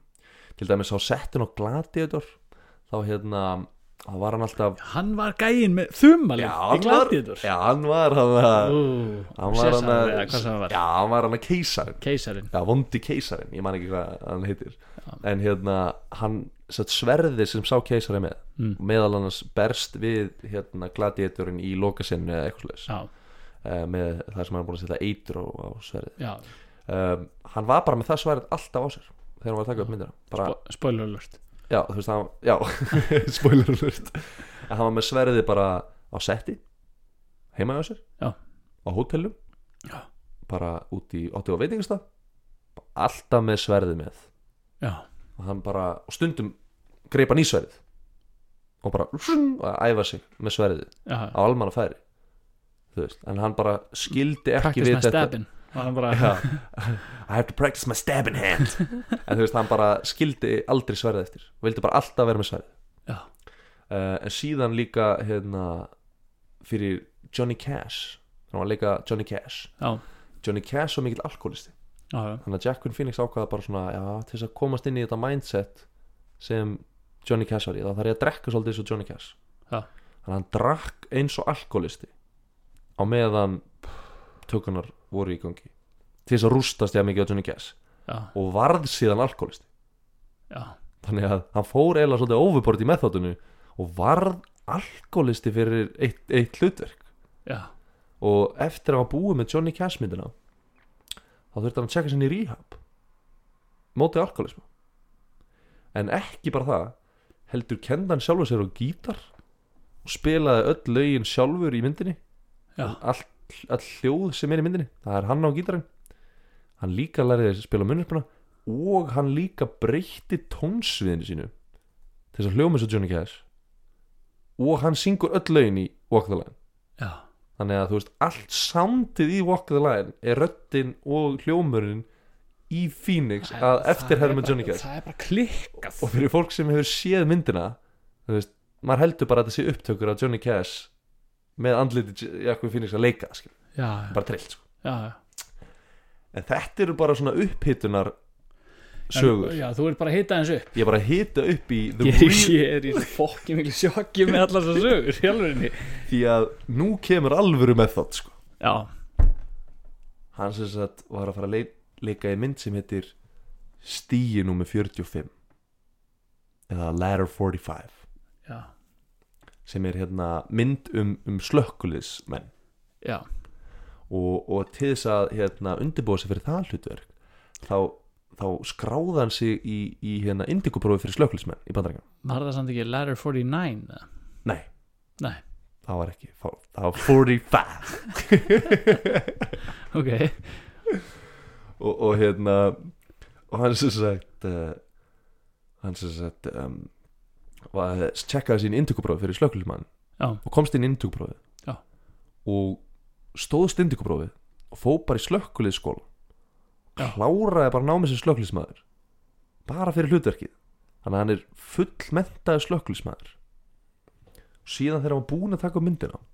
A: til dæmis á settin og gladiður þá hérna þá var hann alltaf
B: hann var gæinn með þumalinn í
A: hann var,
B: gladiður
A: já, hann var hann að hann var hann að
B: hann
A: já, hann var hann að keisarinn
B: keisarin
A: já, vondi keisarinn, ég man ekki hvað hann heitir en hérna, hann satt sverði sem sá keisari með
B: Mm.
A: meðal annars berst við hérna gladiatorinn í lokasinnu eða eitthvað slags
B: já,
A: uh, með það sem hann er búin að setja eitur á, á sverðið
B: já,
A: um, hann var bara með það sverð alltaf á sér þegar hann var að taka upp myndina bara,
B: Bo- spoiler alert
A: já, þú veist, hann, já, <laughs> spoiler alert en hann var með sverðið bara á setti heima á sér
B: Já.
A: á hótelum
B: Já.
A: bara út í 80 og veitingastaf alltaf með sverðið með
B: já,
A: og hann bara og stundum greipa nýsverðið og bara vrrrn, og að æfa sig með sverðið
B: já,
A: á almanna færi þú veist, en hann bara skildi ekki
B: practice
A: við
B: my stabbin og hann bara,
A: <laughs> Já. I have to practice my stabbing
B: <laughs>
A: hand en þú veist, hann bara skildi aldrei sverðið eftir og vildi bara alltaf vera með sverðið
B: Já.
A: uh, en síðan líka hérna, fyrir Johnny Cash þannig var líka Johnny Cash
B: já,
A: Johnny Cash var mikill alkoholisti
B: já, já,
A: þannig að Jacqueline Phoenix ákvaða bara svona já, til þess að komast inn í þetta mindset sem Johnny Cash var í þá þarf ég að drekka svolítið eins og Johnny Cash
B: Já.
A: þannig að hann drakk eins og alkoholisti á meðan tökunar voru í gangi til þess að rústast ég mikið á Johnny Cash
B: já,
A: og varð síðan alkoholisti
B: já.
A: þannig að hann fór eiginlega svolítið overbord í methodinu og varð alkoholisti fyrir eitt, eitt hlutverk
B: já.
A: og eftir að hafa búið með Johnny Cash myndina þá þurfti hann að checka sinni í rehab mótið alkoholismu en ekki bara það heldur kenda hann sjálfur sér á gítar og spilaði öll lögin sjálfur í myndinni
B: Já.
A: all, all hljóð sem er í myndinni það er hann á gítarinn hann líka læriði að spila munnispuna og hann líka breytti tónsviðinu sínu til þess að hljóma eins og Johnny Cash og hann syngur öll lögin í Walk the Line
B: já.
A: þannig að þú veist allt samtið í Walk the Line er röddin og hljómurinn í Phoenix að eftirherra með Johnny Cash
B: það er bara klikkað
A: og fyrir fólk sem hefur séð myndina þú veist, maður heldur bara að þetta sé upptökur af Johnny Cash með andliti Jakob Phoenix að leika skil,
B: já, já,
A: bara trillt sko.
B: já, já.
A: en þetta eru bara svona upphitunar sögur,
B: já, þú ert bara að hita eins upp
A: ég er bara að hita upp í the
B: ég er,
A: real,
B: ég er í fokkin miklu sjokki með allar þessar sögur í alvörunni.
A: því að nú kemur alvöru með þátt sko.
B: já,
A: hann sem sagt var að fara að leik, leika í mynd sem heitir Stíi nummer 45 eða Ladder 45
B: já,
A: sem er hérna mynd um, um slökkulismenn
B: já,
A: og, og til þess að hérna, undirbúa sig fyrir það hlutverk þá, þá skráði hann sig í, í hérna indikuprófi fyrir slökkulismenn í bandarengan
B: var það samt ekki Ladder 49 eða?
A: Nei,
B: Nei.
A: það var ekki, fá- það var 45
B: <laughs> ok,
A: og, og hérna og hann sem sagt uh, hann sem sagt um, var, checkaði sín inntökuprófi fyrir slökkulismann
B: Já.
A: og komst inn í inntökuprófi
B: Já.
A: og stóðst inntökuprófi og fó bara í slökkulisskóla
B: Já.
A: kláraði bara námið sem slökkulismæður bara fyrir hlutverkið þannig að hann er fullmentaði slökkulismæður síðan þegar hann var búin að taka upp myndina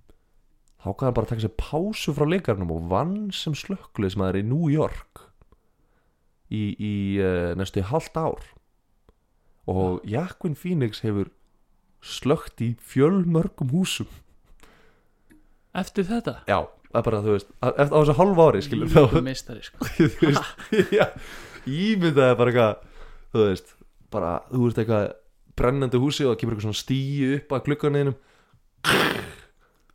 A: þá kann hann bara að taka sér pásu frá leikarnum og vann sem slökkulismæður í New York í, í uh, næstu halvt ár og Jakvin Phoenix hefur slögt í fjölmörgum húsum
B: eftir þetta
A: já, það er bara þú veist að- eftir á þessu halva ári skilur þá
B: Þú meistari sko
A: <laughs> þú veist <laughs> já, ímyndaði bara eitthvað þú veist, bara þú veist eitthvað brennandi húsi og það kemur eitthvað svona stíu upp að glugganinum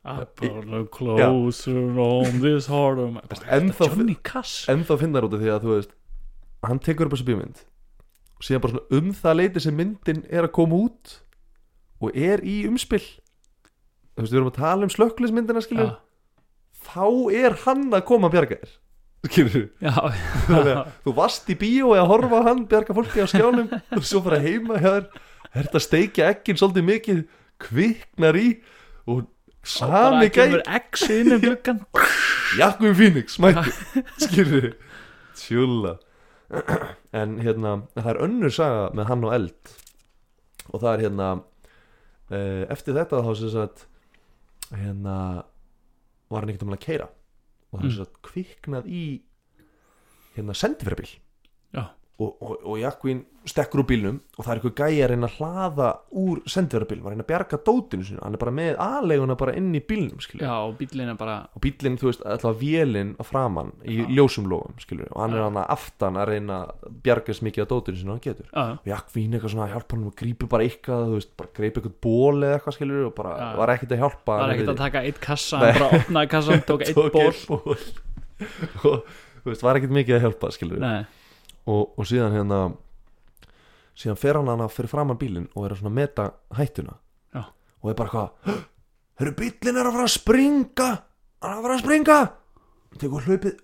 B: Apollo closer on this heart of my
A: ennþá,
B: Johnny Cash
A: ennþá finnar út af því að þú veist hann tekur upp þessu bímynd og síðan bara svona um það leiti sem myndin er að koma út og er í umspill þú veist, við erum að tala um slökklismyndina skilur
B: Já,
A: þá er hann að koma að bjarga þér skilur
B: já,
A: Þannig að þú varst í bíó eða horfa á hann bjarga fólki á skjánum <laughs> og svo fara heima hjá þér er þetta að steikja ekkin svolítið mikið kviknar í og sami gæ
B: kemur X inn um gluggan
A: Jakobin Phoenix mætti skilur tjúla en hérna það er önnur saga með hann og eld og það er hérna eh, eftir þetta þá sem sagt hérna var hann ekkert um að keira og það er
B: Mm.
A: sem sagt kviknað í hérna sendifyrirbíl
B: Já.
A: og, og, og Jakobin stekkur úr bílnum og það er eitthvað gæja að reyna að hlaða úr sendifyrirbílnum, að reyna að bjarga dótinu sinu hann er bara með aðleguna bara inn í bílnum skilur
B: já, og bíllinn er bara
A: og bíllinn, þú veist, alltaf vélinn að framann í
B: Já.
A: ljósum lófum, skilur og hann er
B: Já.
A: hann aftan að reyna að bjargast mikið af dótinu sinna hann getur
B: já,
A: og Jakvín eitthvað svona að hjálpa hann og grípi bara eitthvað, þú veist, bara greipi eitthvað ból eða eitthvað, skilur, og bara
B: Já.
A: var ekkert að hjálpa
B: það er
A: hann
B: ekkert
A: við-
B: að taka eitt kassa
A: Nei.
B: hann bara opnaði kassan,
A: <laughs>
B: tók eitt
A: tók
B: ból
A: eitt ból <laughs> og, þú veist, var ekkert mikið að hjálpa, skilur
B: Nei,
A: og, og síðan hérna síðan fer hann hana fyrir framann bílinn og er að svona meta hættuna
B: Já.
A: og er bara eitthvað Hörru, bílinn er að fara að springa hann er að fara að springa tekur hlaupið,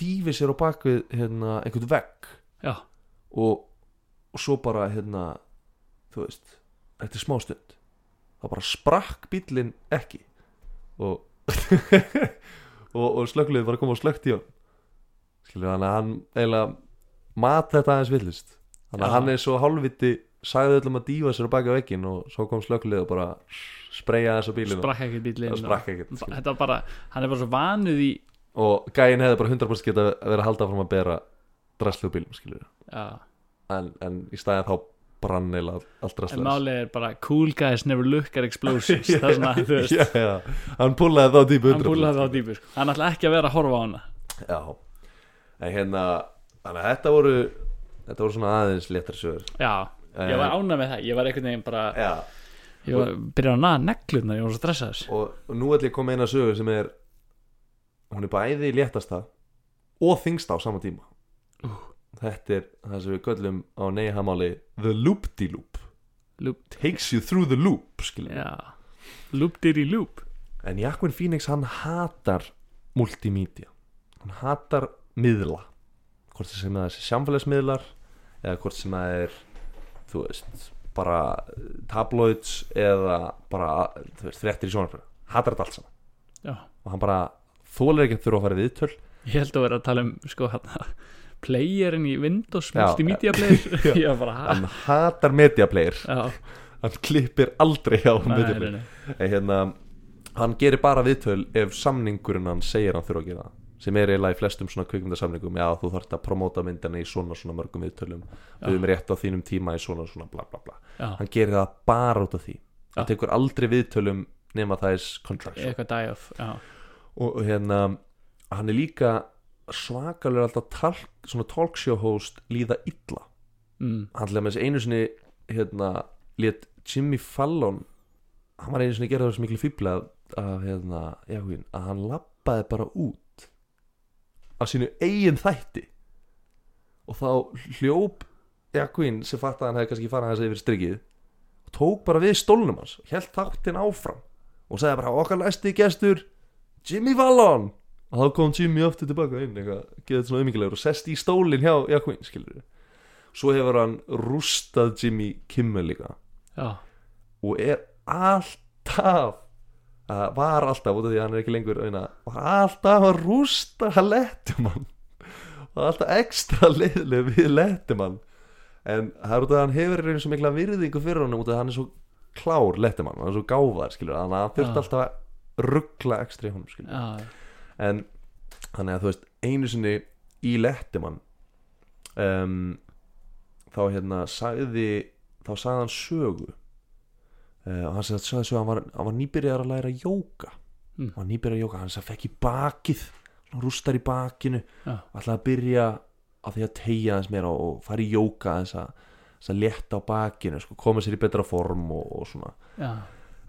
A: dýfi sér á bak við hérna, einhvern vegg
B: já,
A: og, og svo bara hérna, þú veist eftir smástund þá bara sprakk bílinn ekki og <laughs> og, og slökkulegði var að koma og slökkt í hann skilur hann að hann eiginlega mat þetta aðeins villist þannig að
B: Já.
A: hann er svo hálfviti sagði öllum að dýfa sér á baki á vekkin og svo kom slökkulegði og bara spreyja þess á bílinu
B: sprakk ekki bíllinn
A: það sprakk ekkert skilur.
B: Þetta var bara, hann er bara svo vanuð í
A: og gæin hefði bara 100% geta verið að halda fram að bera draslu á bílum skilur
B: já,
A: en, en í staðin þá brann eiginlega allt
B: En
A: draslu
B: málið er bara Cool guys never look
A: <laughs>
B: at explosions Það er svona, þú veist
A: já, já. hann púlaði þá típu
B: Hann búlaði það á dýpur sko. Hann ætla ekki að vera að horfa á hana
A: já en hérna þannig að þetta voru þetta voru svona aðeins léttar sögur
B: Já, ég
A: Eh,
B: var ánað með það Ég var einhvern veginn bara
A: já
B: Ég var byrjað að naða neglunar Ég var svo stressaður
A: og, og nú ætlum ég að koma með eina sögu sem er hún er bæði léttasta og þingsta á sama tíma þetta er það sem við köllum á neyhamáli the loop-de-loop
B: Loop.
A: takes you through the loop skilur við.
B: Já Loop dýr í loop
A: en Jakobin Phoenix hann hatar multimedia hann hatar miðla hvort sem það er samfélagsmiðlar eða hvort sem það er þú veist, bara eh, tabloids eða bara þú veist, fréttir í sjónarfjörðu hatar þetta allt saman
B: Já
A: og hann bara þólar ekki að þurfa að fara í viðtöl
B: Ég held að vera að tala um sko hérna Playerinn í Windows
A: Já.
B: Multimedia
A: <laughs>
B: player Ég var bara ha
A: hann hatar media player
B: Já,
A: hann klippir aldrei á media
B: nei, nei,
A: player
B: nei.
A: En hérna, hann gerir bara viðtöl ef samningurinn hann segir hann þurfa að gera það. sem er eiginlega í flestum svona kvikmyndasamningum já þú þarft að promóta myndina í svona svona mörgum viðtölum við höfum rétt á þínum tíma í svona svona bla bla bla
B: Já,
A: hann gerir það bara út af því hann
B: Já.
A: tekur aldrei viðtölum nema það er contractual
B: eitthvað die off Já,
A: og og hérna hann er líka svakalur alltaf talk, svona talkshow host líða illa
B: mm.
A: hann til að með þessi einu sinni hérna, let Jimmy Fallon hann var einu sinni gerða þessu miklu fýbla af hérna, jáhuin, að hann lappaði bara út af sínu eigin þætti og þá hljóp Jakvin sem fatt að hann hefði kannski farað hans yfir strikið og tók bara við stólnum hans held þáttinn áfram og sagði bara okkar næsti gestur Jimmy Fallon og þá kom Jimmy aftur tilbaka inn eitthvað, geðið svona umingilegur og sest í stólinn hjá Jakvin skilur svo hefur hann rústað Jimmy Kimmel líka
B: já,
A: og er alltaf uh, var alltaf út af því að hann er ekki lengur eina, var alltaf að rústa <laughs> Lettumann og alltaf ekstra leiðileg við Lettumann en það er út af að hann hefur einu svo mikla virðingu fyrir honum út af að hann er svo klár Lettumann, hann er svo gáfar skilur, þannig að hann þurfti
B: Já.
A: alltaf að ruggla ekstra í honum skilur
B: já,
A: en þannig að þú veist einu sinni í Lettimann um, þá hérna sagði þá sagði hann sögu uh, og hann sagði, sagði sögu hann var, hann var nýbyrjar að læra jóka
B: Mm.
A: hann var nýbyrjar að jóka, hann sagði fekk í bakið hann rústar í bakinu
B: Já.
A: og ætlaði að byrja á því að tegja aðeins meira og, og fara í jóka aðeins að, aðeins að létta á bakinu sko, koma sér í betra form og, og svona
B: já,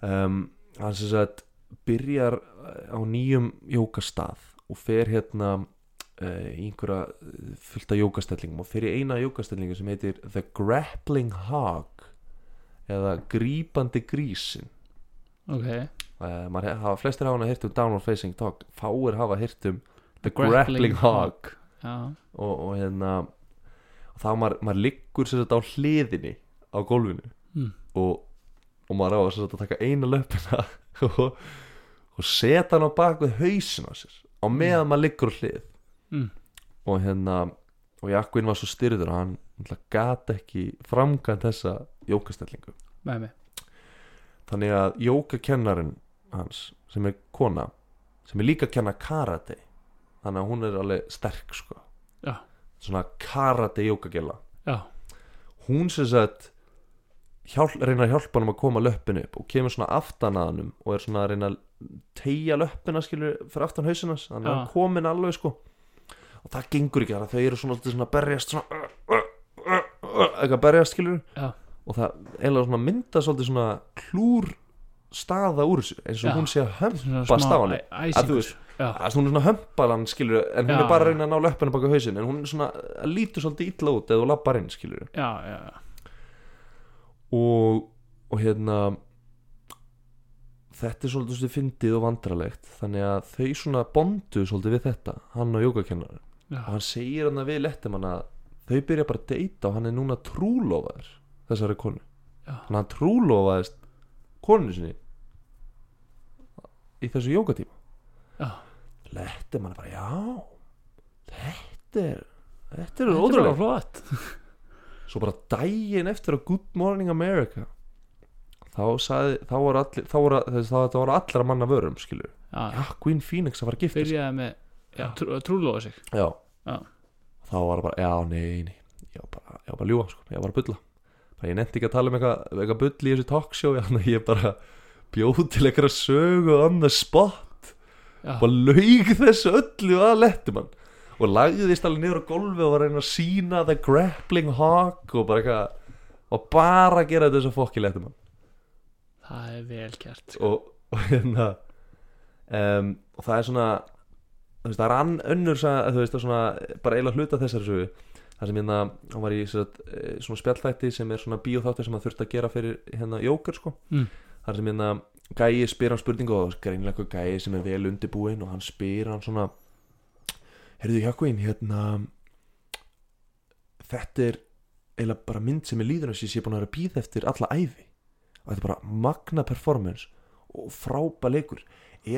A: um, hann sem sagt byrjar eh, á nýjum jókastað og fer hérna uh, í einhverja eh, fullta jókastellingum og fer í eina jókastellingu sem heitir The Grappling Hog eða Grípandi Grísin Eh,
B: ok
A: uh, maður he- hafa flestir hafa hirt um Downward Facing Dog fáir hafa hirt um
B: The
A: Grappling Hog
B: Já,
A: og, og hérna og þá maður, maður liggur sér þetta á hliðinni á gólfinu
B: Mm.
A: og, og maður á að sér þetta að taka eina löpina <laughs> og, og setja hann á bak við hausin á sér á meðan maður liggur á hlið
B: Mm.
A: og hérna og Jakvin var svo styrður að hann náttúrulega gat ekki framkvæmt þessa jókastellingu
B: með mig
A: þannig að jókakennarinn hans sem er kona sem er líka að kenna karate þannig að hún er alveg sterk sko
B: Já.
A: svona karate jókagela
B: Já,
A: hún sem sagt hjálp, reyna að hjálpa hann að koma löppinu upp og kemur svona aftan að hannum og er svona að reyna að tegja löppina skilur fyrir aftan hausinas þannig að
B: Já.
A: hann komin alveg sko og það gengur ekki þar að þau eru svona, svona að berjast svona eitthvað að berjast skilur
B: Já.
A: og það eiginlega svona mynda svolítið svona klúr staða úr þessu eins og
B: Já.
A: hún sé að hömpa
B: svona
A: Bara
B: smá
A: stáli.
B: æ-
A: að þú
B: æsingur
A: veist,
B: Já,
A: að hún er svona hömpalan skilur en hún
B: Já.
A: er bara að reyna að ná löppinu baka hausin en hún er svona, lítur svolítið illa út eða þú lappar inn skilur
B: já, já, já.
A: og, og hérna þetta er svolítið svolítið fyndið og vandralegt þannig að þau svona bondu svolítið við þetta hann og jókakennar og
B: já.
A: hann segir hann að við lettum hann að þau byrja bara að deyta og hann er núna trúlofaður þessari konu
B: Já.
A: þannig að hann trúlofaðist konu sinni í þessu jókatíma
B: Já.
A: lettum hann bara já þetta er þetta er
B: Þetta
A: ótrúlega
B: bara flott
A: svo bara daginn eftir að Good Morning America þá sagði, þá var allir þá var, þess, þá, þá var allra manna vörum skilur
B: Já,
A: já, Queen Phoenix að fara að gifta sig
B: byrjaði með já, trú, að trúlóa sig
A: já.
B: Já.
A: þá var bara, já, nei, nei ég var bara, ég var bara að ljúa, sko, ég var bara að bulla bara ég nefndi ekki að tala um eitthvað eitthvað bull í þessu talkshow, þannig að ég bara bjóð til eitthvað sögu on the spot
B: Já,
A: bara laug þessu öllu að Letterman og lagðist alveg niður á gólfi og var að reyna að sína The Grappling Hawk og bara eitthvað og bara að gera þessu fokki Letterman
B: það er vel gert sko.
A: og, og hérna um, og það er svona þú veist, það er ann önnur sa- þú veist, það er svona, bara eiginlega hluta þessari sögu það sem hérna, hún var í sem sagt, eh, svona spjallþætti sem er svona bíóþáttur sem hann þurfti að gera fyrir hérna jóker sko
B: Mm.
A: þar sem hérna gæi spyr hann spurningu og greinilega eitthvað gæi sem er vel undirbúinn og hann spyr hann svona heyrðu Jakobin, hérna þetta er eiginlega bara mynd sem er líður sem ég sé búin að vera að býða eftir alla æfi og þetta er bara magna performance og frápa leikur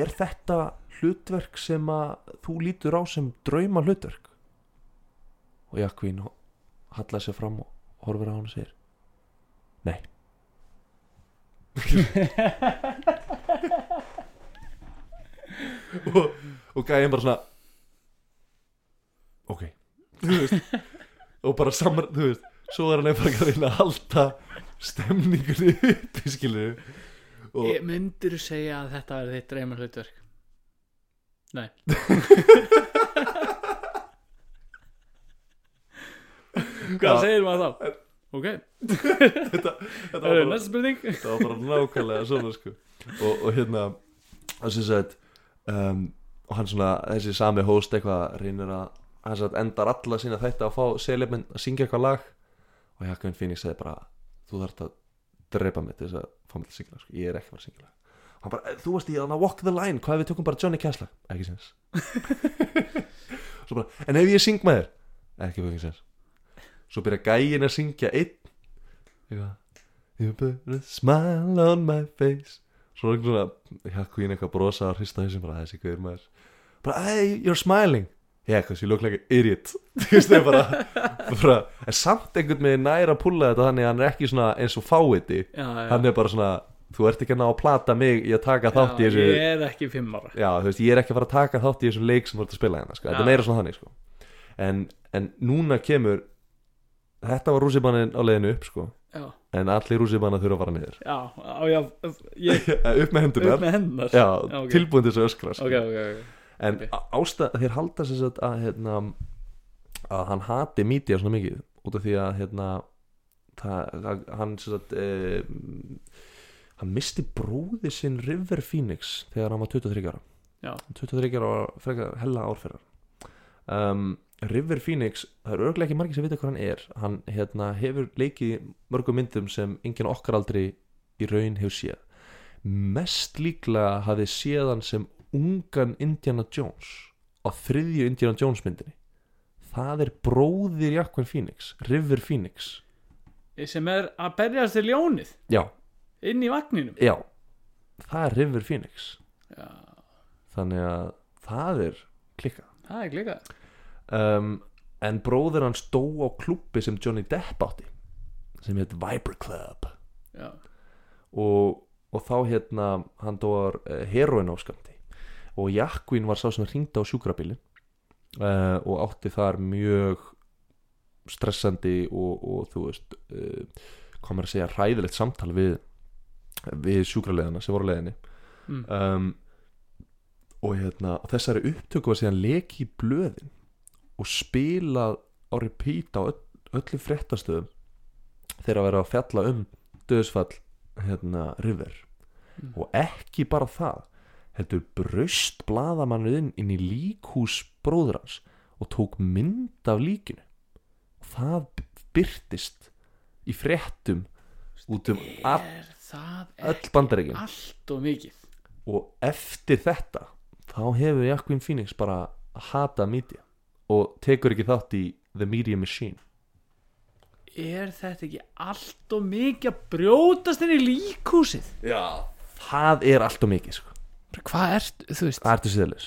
A: er þetta hlutverk sem að þú lítur á sem drauma hlutverk og Jakobin hallar sér fram og horfir á hann og segir nei og, og gæði bara svona ok þú veist og bara samar, þú veist svo er hann eitthvað að reyna að halda stemningunni <laughs> uppi skilu og
B: Ég myndir segja að þetta er þitt dreymar hlutverk
A: <laughs>
B: Nei Hvað
A: Já.
B: segir maður þá? Ok,
A: þetta var
B: það er
A: bara,
B: næsta spurning
A: þetta var bara nákvæmlega svona sko og, og hérna hann sem sagt um, og hann svona, þessi sami host eitthvað reynir að, hann sagt endar alla sína þetta að fá selefminn að syngja eitthvað lag og Jakobin Phoenix sagði bara þú þarft að drepa mig til þess að fá mig til að syngja lag, sko. ég er ekki að fara að syngja lag hann bara, "Eh, þú varst í hann að walk the line hvað ef við tökum bara Johnny Cash lag, ekki sens svo bara, en ef ég syng með þér ekki fucking sens svo byrja gæin að syngja einn eitthvað You put a smile on my face Svo er einhvern svona Jakkuín eitthvað brosa og hrista hausinn bara þessi guður maður Bara, hey, you're smiling Yeah, because you look like an idiot <laughs> Þú veist það er bara, bara En samt einhvern með næra að púla þetta þannig að hann er ekki svona eins og fáiði
B: já, já.
A: Hann er bara svona Þú ert ekki að ná að plata mig í að taka þátt í
B: Já,
A: þessu
B: Ég er ekki fimm ára
A: Já, þú veist, ég er ekki að fara að taka þátt í þessum leik sem þú ert að spila hérna, sko, þetta er
B: Já.
A: meira svona þannig, sko en, en núna kemur Þetta var rússibanin á leiðinu upp, sko
B: Já,
A: En allir rússibanar þurfa að fara niður
B: já, á, já Ég
A: Eh, upp með hendunar
B: upp með hennar
A: já,
B: Já, ok.
A: tilbúin til þess að öskra sko.
B: Ok, ok, ok
A: en
B: ok.
A: okay. ástæð, þeir halda sér satt að hérna, að hann hati mítja svona mikið út af því að hérna, það, það, hann sér satt eh, hann misti bróði sinn River Phoenix þegar hann var 23 ára
B: Já.
A: 23 ára var frekar hella árferðar um, River Phoenix það eru örglega ekki margir sem vita hvað hann er hann hérna, hefur leikið í mörgum myndum sem enginn okkar aldrei í raun hefur séð mest líklega hafi séð hann sem ungan Indiana Jones á á þriðju Indiana Jones myndinni það er bróðir Jakobin Phoenix River Phoenix
B: sem er að berjast til ljónið
A: já,
B: inn í vagninum
A: já, það er River Phoenix
B: Já.
A: þannig að það er klikka
B: það er klika
A: um, en bróðir hans dó á klubbi sem Johnny Depp átti sem heit Viper Club
B: Já.
A: og, og þá hérna hann dóar uh, heroin áskamti og Jakvin var sá sem hringdi á sjúkrabílin uh, og átti þar mjög stressandi og, og þú veist uh, komur að segja hræðilegt samtal við, við sjúkraleðana sem voru á leiðinni
B: Mm.
A: um, og hérna og þessari upptöku var síðan leki í blöðin og spilað á repeat á öll, öllu fréttastöðum þegar að vera að fjalla um döðsfall hérna River
B: Mm.
A: og ekki bara það heldur braust blaðamannuðinn inn í líkhús bróður hans og tók mynd af líkinu og það byrtist í fréttum út um all,
B: er það
A: öll bandaríkin
B: allt og mikið
A: og eftir þetta þá hefur Jakobin Phoenix bara hatað media og tekur ekki þátt í The Media Machine
B: er þetta ekki allt og mikið að brjótast inn í líkúsið
A: Já Það er allt og mikið sko
B: hvað er, þú veist,
A: Það ertu síðalis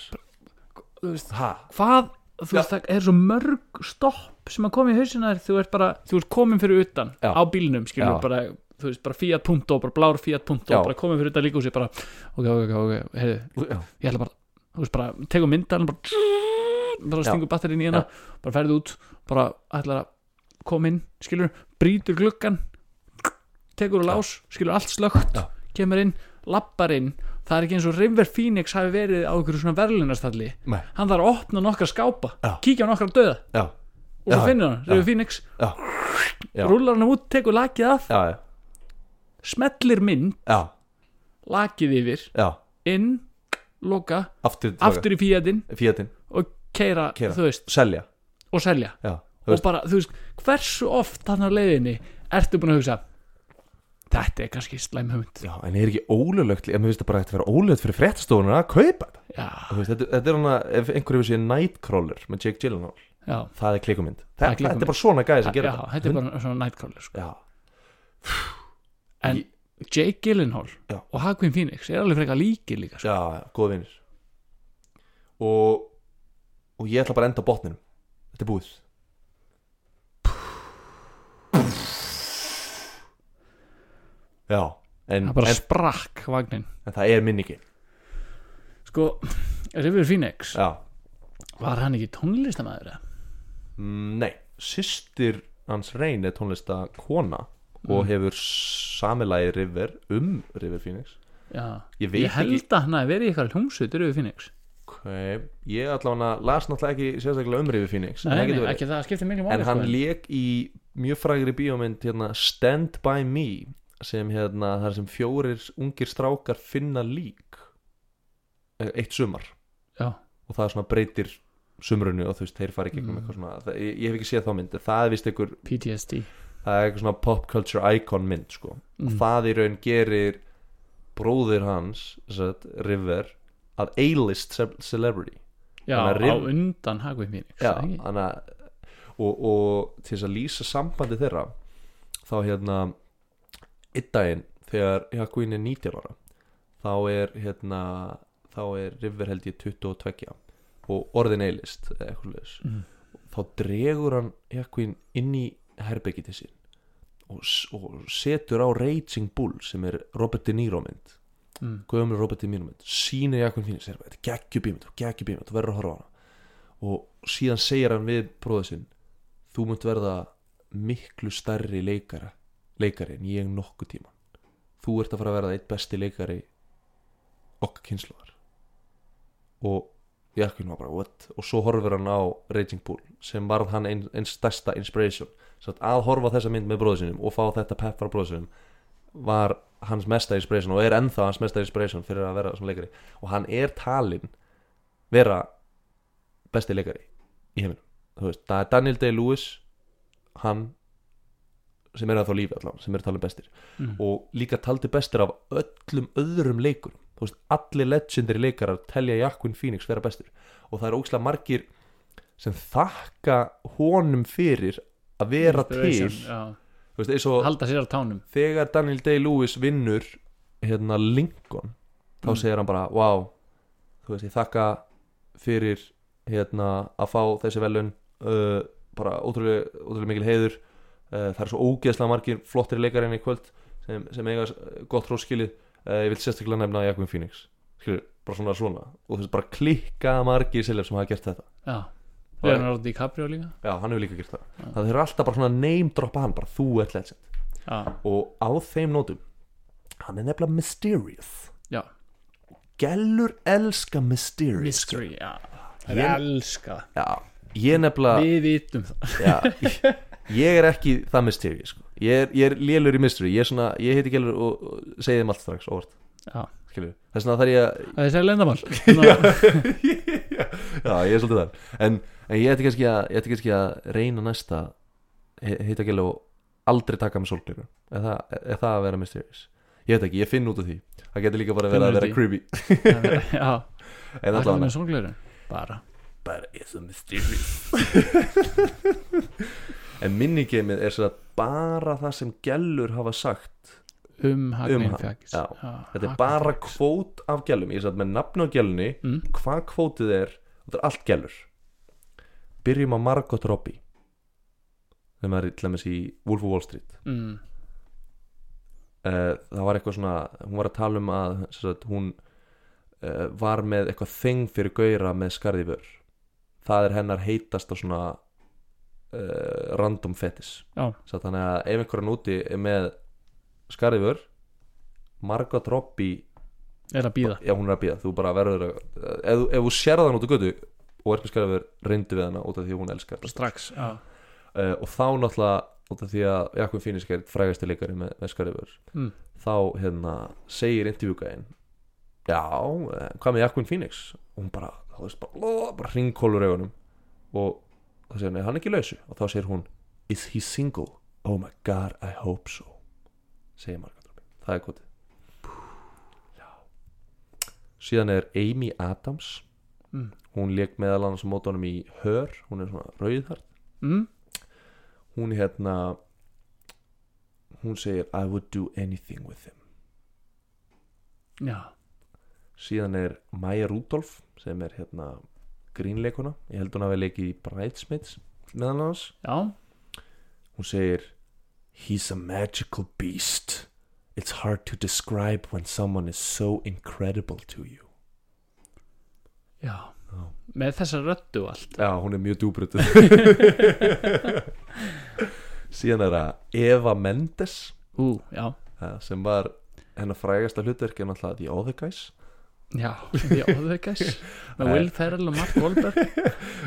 B: þú veist
A: Ha?
B: hvað, þú veist, það er svo mörg stopp sem að koma í hausina þér, þú ert bara þú ert komin fyrir utan
A: Já.
B: á bílnum skilur,
A: Já.
B: bara, þú veist, bara Fiat Punto bara blár Fiat Punto,
A: Já.
B: bara komin fyrir utan líkúsið bara, ok, ok, ok, ok, heyrðu
A: Já
B: ég ætla bara, þú veist, bara tegum myndan bara, bara
A: Já.
B: stingur batterinn í hérna bara ferðu út, bara ætlar að koma inn, skilur, brýtur gluggan tekur úr lás skilur allt slögt,
A: Já.
B: kemur inn lappar inn, það er ekki eins og River Phoenix hafi verið á einhverju svona verðlunastalli
A: Nei.
B: hann þarf að opna nokkra skápa
A: Já.
B: kíkja á nokkra döða
A: Já
B: og
A: Já,
B: svo finnur hann,
A: já.
B: River Phoenix
A: Já. Já.
B: rúlar hann út, tekur lakið af
A: Já
B: smetlir mynd,
A: Já
B: lakið yfir
A: Já
B: inn, loka,
A: Aftur
B: aftur í fíatinn
A: Fíatin
B: og keira,
A: Keyra.
B: þú veist,
A: Selja
B: og selja
A: Já Þú
B: og
A: veist
B: bara, þú veist, hversu oft hann á leiðinni ertu búin að hugsa þetta er kannski slæm hugmynd
A: Já en er ekki ólöglegt Ég mér finnst það bara að þetta vera ólöglegt fyrir fréttastofunum að kaupa þetta
B: já,
A: Þú veist þetta, þetta er hana Ef einhverju við séu Nightcrawler með Jake Gyllenhaal
B: já,
A: Það er klíkumynd
B: er
A: Þetta,
B: klikkumynd.
A: þetta er bara svona gæði
B: já,
A: sem gera
B: þetta er bara svona nightcrawler sko.
A: Já
B: en Jake Gyllenhaal
A: Já.
B: og Hagvin Phoenix er alveg frekar líkir líka sko.
A: Já, já, góð vinnir og, og ég ætla bara að enda á botninum Þetta er búið Já, en,
B: það bara
A: en,
B: sprakk vagnin
A: en það er minningi
B: sko, River Phoenix
A: Já,
B: var hann ekki tónlistamæður eða?
A: Mm, nei, systir hans Reyn er tónlista kona
B: Mm.
A: og hefur samilagi River um River Phoenix
B: já,
A: Ég veit
B: ég held að hann hafi verið í eitthvað hljómsveit River Phoenix
A: ekki ok, Ég ætla hann að las náttúrulega ekki sérstaklega um River Phoenix en
B: nei,
A: það
B: nei,
A: getur verið.
B: ekki það, það skiptir miklu
A: en
B: máli
A: hann
B: sko.
A: lék í mjög frægri bíómynd hérna, Stand By Me sem hérna, þar sem fjórir ungir strákar finna lík eh, eitt sumar
B: já,
A: og það svona breytir sumrunu og þú veist, þeir fara í gegnum
B: Mm.
A: eitthvað svona það, ég, ég hef ekki séð þá mynd, en það er vist einhver
B: PTSD
A: það er eitthvað svona pop culture icon mynd sko.
B: Mm.
A: og það í raun gerir bróðir hans satt, River að A-list ce- celebrity
B: já,
A: Hann er
B: á
A: rim-
B: undan Hagvin Phoenix
A: Já,
B: er það ekki?
A: hana, og, og til þess að lýsa sambandi þeirra þá hérna einn daginn þegar Jakobin er 19 ára þá er hérna þá er River held ég 22 og orðin eilist eða eitthvað leis
B: Mm.
A: þá dregur hann Jakobin inn í herbyggi til sín og, s- og setur á Raging Bull sem er Robert De Niro mynd
B: Mm.
A: gömur Robert De Niro mynd sýnir Jakobin Phoenix þetta er geggjubímynd og geggjubímynd og verður að horfa á hana og síðan segir hann við bróða sinn þú munt verða miklu stærri leikara leikari en ég nokkuð tíma þú ert að fara að verða eitt besti leikari okkar kynsluðar og Jarkin var bara what og svo horfir hann á Raging Bull sem varð hann einn ein stærsta inspiration Satt að horfa á þessa mynd með bróða sinum og fá þetta pepp frá bróða sinum var hans mesta inspiration og er ennþá hans mesta inspiration fyrir að vera svona leikari og hann er talinn vera besti leikari í heiminum þú veist, það er Daniel Day-Lewis hann sem er að þá lífi allan, sem er talin bestir
B: Mm.
A: og líka taldi bestir af öllum öðrum leikurum þú veist, allir legendary leikarar telja Jakvin Phoenix vera bestur og það eru ógislega margir sem þakka honum fyrir að vera til
B: Inspiration, já.
A: þú veist, eins og
B: halda sér á tánum
A: þegar Daniel Day-Lewis vinnur hérna Lincoln þá segir hann bara, wow þú veist, ég þakka fyrir hérna að fá þessi velun uh, bara ótrúlega, ótrúlega mikil heiður uh, það er svo ógeðslega margir flottri leikarinn í kvöld sem, sem eiga eh, gott róskilið uh, ég vil sérstaklega nefna Jakobin Phoenix skilur, bara svona svona og þú veist, bara klikka margir selef sem hafa gert þetta
B: já Leonardo DiCaprio líka
A: já, hann hefur líka gert það það er alltaf bara svona name droppa hann bara þú ert legend
B: já,
A: og á þeim nótum hann er nefnilega mysterious
B: já.
A: gellur elska mysterious
B: mystery já. ég elska
A: já, ég nefnilega
B: við vitum það
A: já, ég- ég er ekki það mysterious sko. ég, er, ég er lélur í mystery ég, er svona, ég heiti gellur og, og segi þeim allt strax óvart
B: já.
A: skilurðu. þess vegna þarf ég að <laughs>
B: það er sér <laughs> lendamál Ná,
A: já, ég er svolítið þar en, en ég ætti kannski, að- ég ætti kannski að reyna næsta he- heita gælu og aldrei taka með sólglöku er, það- er það að vera mysterious ég veit ekki, ég finn út af því það getur líka bara að vera, að vera
B: Finnur
A: creepy
B: já,
A: en
B: það er
A: Hérna allavega
B: með sólglöru bara
A: bara er svo mysterious en minigameið er svona bara það sem gellur hafa sagt
B: um Hagnum
A: Um hann,
B: Fjagis
A: já. þetta
B: Ah,
A: er bara kvót af gellum ég er satt með nafn á gellunni
B: Mm.
A: hvað kvótið er, þetta er allt gellur byrjum á Margot Robbie þegar maður er til dæmis í Wolf of Wall Street
B: mm,
A: uh, það var eitthvað svona hún var að tala um að sem sagt, hún uh, var með eitthvað þing fyrir gauðra með skarði vör það er hennar heitasta svona uh, random fetis
B: Já.
A: Svo þannig að ef einhverjan úti er með skarði vör Margot Robbie
B: er að býða
A: já hún er að býða, þú bara verður að eh, ef, þú- ef þú sérðan út á götu og er með skarði vör reyndu við hana út af því að hún elskar þetta
B: strax já.
A: uh, og þá náttúrulega út af því að Jakobin Fínisk er frægasti leikari með, með Skarifur
B: Mm.
A: þá hérna segir intervjúgæðin já, eh, hvað með Jakobin Fíniks og hún bara, þá veist bara, ó, bara ringkólur augunum og þá segir hann, er hann ekki lausu? og þá segir hún, is he single? oh my god, I hope so segir Margaret Robbie, það er gott síðan er Amy Adams
B: Mm.
A: hún leik meðal annars á mótunum í Hör, hún er svona rauðhar
B: Mm,
A: hún hérna hún segir I would do anything with him
B: já,
A: síðan er Maya Rudolph sem er hérna grínleikuna ég held hún hafi leikið í Bridesmaids meðan hans
B: já,
A: hún segir He's a magical beast It's hard to describe when someone is so incredible to you
B: já.
A: Já.
B: með þessa röddu og allt
A: Já, hún er mjög djúbrötu <laughs> síðan er það Eva Mendes
B: ú, já,
A: eh, sem var hennar frægasta hlutverk en alltaf The Other Guys
B: já, já, <laughs> þau gæs með
A: Nei.
B: Will Ferrell og Mark Wahlberg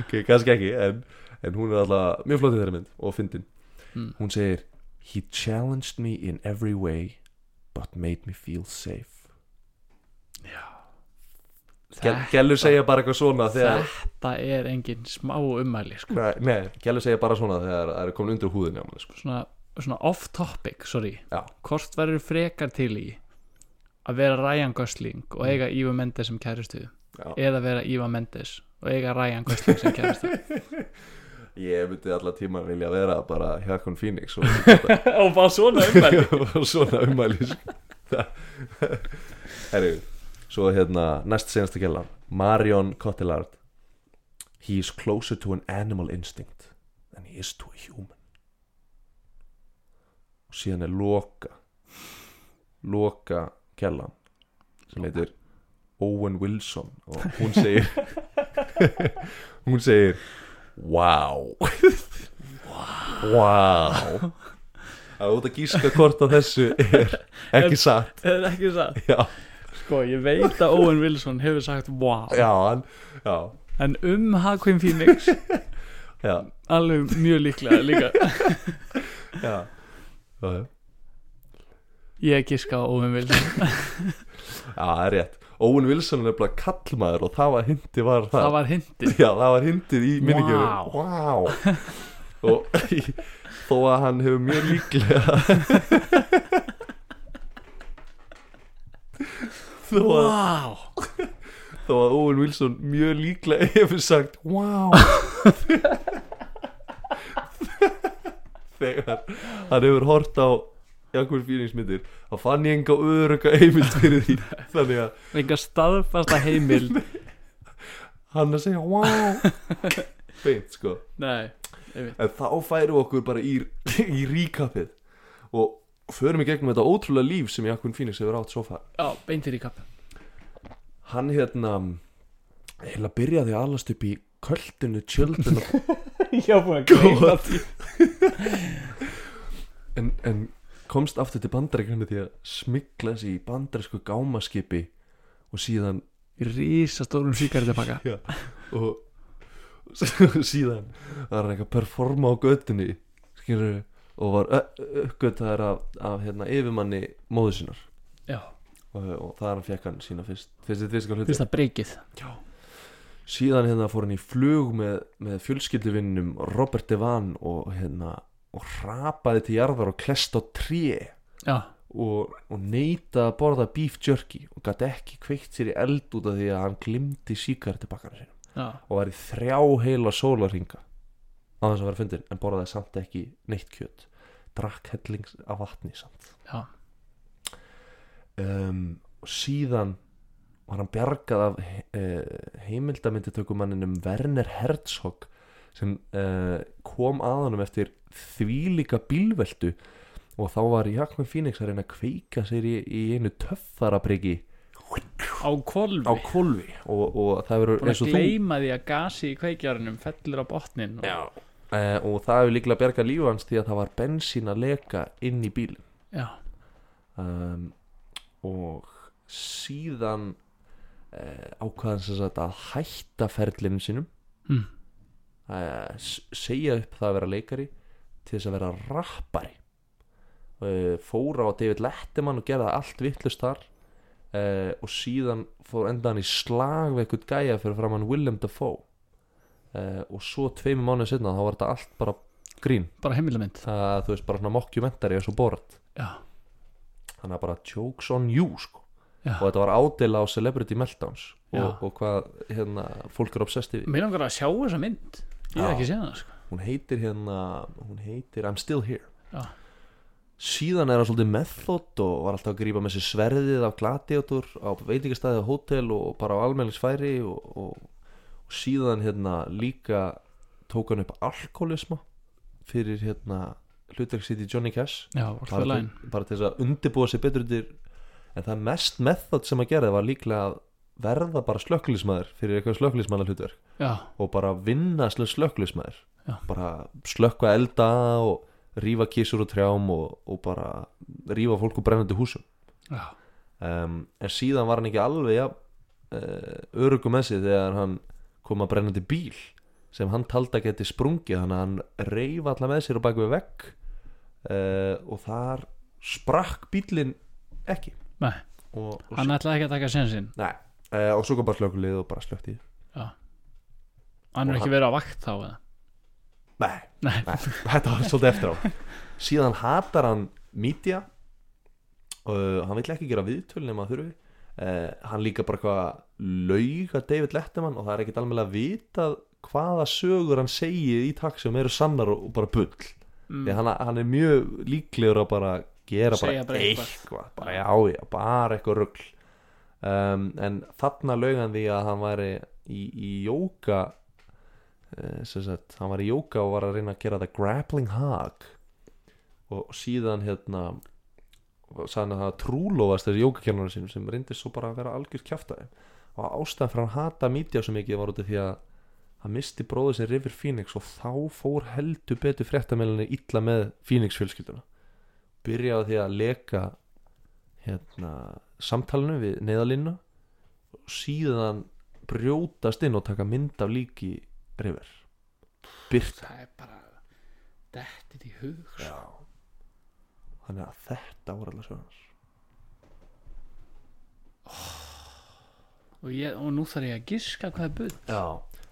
A: ok, kannski ekki en, en hún er alltaf mjög flott í þeirri mynd og fyndin
B: Mm.
A: hún segir he challenged me in every way but made me feel safe Gel, Gellur segja bara eitthvað svona þegar
B: þetta er engin smá ummæli sko.
A: Nei, nei, Gellur segja bara svona þegar það er komin undir húðin hjá manni sko.
B: svona, svona off topic, sorry
A: Já.
B: hvort verður frekar til í að vera Ryan Gosling og eiga Íva Mendes sem kæristu
A: Mm. Já.
B: eða vera Íva Mendes og eiga Ryan Gosling sem kæristu
A: Ég myndi allar tíma vilja vera bara Hjakon Phoenix <laughs> og,
B: og bara svona ummæli
A: <laughs> og svona umæli sko. Það- Herru Svo hérna, næst senasta gæla Marion Cotillard He is closer to an animal instinct than he is to a human Og síðan er Loka Loka gælan sem heitir Owen Wilson og hún <laughs> segir hún segir Wow Wow Það er út að gíska hvort að þessu er ekki satt
B: það <laughs> er ekki það
A: Já,
B: sko, ég veit að Owen Wilson hefur sagt wow
A: já, hann, já,
B: en um Hakvim Phoenix
A: já,
B: alveg mjög líklega líka
A: já, já, já,
B: ég giska á Owen Wilson
A: það er rétt Owen Wilson er nefnilega kallmaður og það var hindi var það,
B: það var hindi
A: Já, það var hindið í minningjörðu
B: Vá.
A: wow. Og <laughs> þó að hann hefur mjög líklega þó að,
B: Vá
A: þó að Owen Wilson mjög líklega hefur sagt wow þegar hann hefur hort á einhver fílingsmyndir þá fann ég enga öruga heimild fyrir því þannig að
B: Enga staðfasta heimild
A: <laughs> hann að segja wow beint sko
B: Nei
A: en þá færum við okkur bara í, í ríkapið og förum í gegnum þetta ótrúlega líf sem Jakobin Phoenix hefur átt svo far
B: Já, beintir í kapp
A: hann hérna heila byrjaði að alast upp í kvöldinu tjöldinu
B: <laughs> Já, búin að
A: gleyma en, en komst aftur til bandaríkjana því að smikla sig í bandarísku gámaskipi og síðan
B: Rísastórum síkaretapakka
A: já, og <laughs> og síðan var hann eitthvað að performa á göttunni skilur og var uppgötaðar af, af hérna, yfirmanni móðu sinnar
B: Já,
A: og, og það er hann fekk hann sína fyrst fyrst þetta fyrst hluti
B: fyrsta breykið
A: síðan hérna fór hann í flug með, með fjölskylduvinnum Robert Devan og hérna og hrapaði til jarðar og klest á tré
B: Já,
A: og, og neyta að borða beef jerky og gæti ekki kveikt sér í eld út af því að hann glimti síkartibakkanum sinum
B: já
A: og var í þrjá heila sólarhinga á þess að vera fundin en borðaði samt ekki neitt kjöt drakk hellings af vatni samt
B: Já.
A: um, og síðan var hann bjargað af uh, heimildamynditökumanninum Werner Herzog sem uh, kom að honum eftir þvílíka bílveltu og þá var Jakobin Phoenix að reyna að kveika sér í, í einu töffarabryggi
B: Á kolvi
A: á kolvi og, og það verður
B: Búin
A: eins
B: að
A: og þú
B: gleyma því að gasi í kveikjarunum fellur á botnin og...
A: Já Eh, og það hefur líklega bergað líf hans því að það var bensín að leka inn í bíl
B: Já,
A: um, og síðan uh, ákvaðan sem sagt að hætta ferlinum sínum
B: Mm.
A: uh, segja upp það að vera leikari til þess að vera rappari uh, fór á David Letterman og gerða allt vittlust þar uh, og síðan fór endaðan í slag við eitthvað gæja fyrir framann Willem Dafoe uh, og svo tveimur mánuðið setna þá var þetta allt bara grín
B: bara heimildamynd
A: það þú veist bara svona mockumentari eins og borat
B: Já,
A: þannig að bara jokes on you sko.
B: Já.
A: og þetta var ádela á celebrity meltdowns
B: Já.
A: og, og hvað hérna, fólk er obsessed yfir
B: mér langar að sjá þessa mynd Ég hef
A: Já.
B: ekki séð hana sko
A: hún heitir hérna hún heitir I'm still here
B: Já.
A: síðan er hann svolítið method og var alltaf að grípa með sér sverðið af gladiator á veitingastæði á hótel og bara á almenningsfæri og, og, og síðan hérna líka tók hann upp alkoholisma fyrir hérna hlutverk sitt í Johnny Cash
B: Já, allt
A: bara
B: fyrir lægin
A: til, bara til þess að undibúa sig betur undir en það mest method sem að gera var líklega að verða bara slökkulismæður fyrir eitthvað slökkulismæna hlutverk
B: Já,
A: og bara vinna slö slökkulismæður
B: Já.
A: bara slökka elda og rífa kísur og trjám og, og bara rífa fólk úr brennandi húsum
B: já,
A: um, en síðan var hann ekki alveg ja, uh, örugum með sig þegar hann kom að brennandi bíl sem hann taldi að geti sprungið þannig að hann reyf alla með sér og bak við vekk uh, og þar sprakk bílinn ekki
B: nei
A: og, og,
B: Hann ætlaði ekki að taka sensinn
A: nei, uh, og svo kom bara slökulið og bara slökti
B: Hann
A: Og
B: er ekki
A: hann-
B: verið á vakt þá eða
A: nei,
B: Nei,
A: nei, þetta var svolítið eftir á síðan hatar hann mítja uh, hann vill ekki gera viðtöl nema að þurfi uh, hann líka bara hvað laug að David Letterman og það er ekkit alveg vitað hvaða sögur hann segið í takk sem eru sannar og og bara bull
B: Mm.
A: því að hann, hann er mjög líklegur að bara gera
B: Segja
A: bara,
B: bara eitthvað.
A: eitthvað bara já já, bara eitthvað rugl um, en þarna laugan því að hann væri í, í jóka eh, sem sagt, hann var í jóka og var að reyna að gera það grappling hug og síðan hérna sagði hann að það trúlófast þessi jókakennarar sínum sem reyndist svo bara að vera algjör kjaftaði og ástæðan fyrir að hann hata mítja svo mikið var út af því að hann misti bróðu sér River Phoenix og þá fór heldur betur fréttamelinni illa með Phoenix fjölskylduna byrjaði á því að leka hérna, samtalinu við neðalinna og síðan brjótast inn og taka mynd af líki River Byrt
B: Það er bara Dettit í hug sko.
A: þannig að þetta voru alveg svona
B: og, ég, og nú þarf ég að giska hvað er bull
A: Já,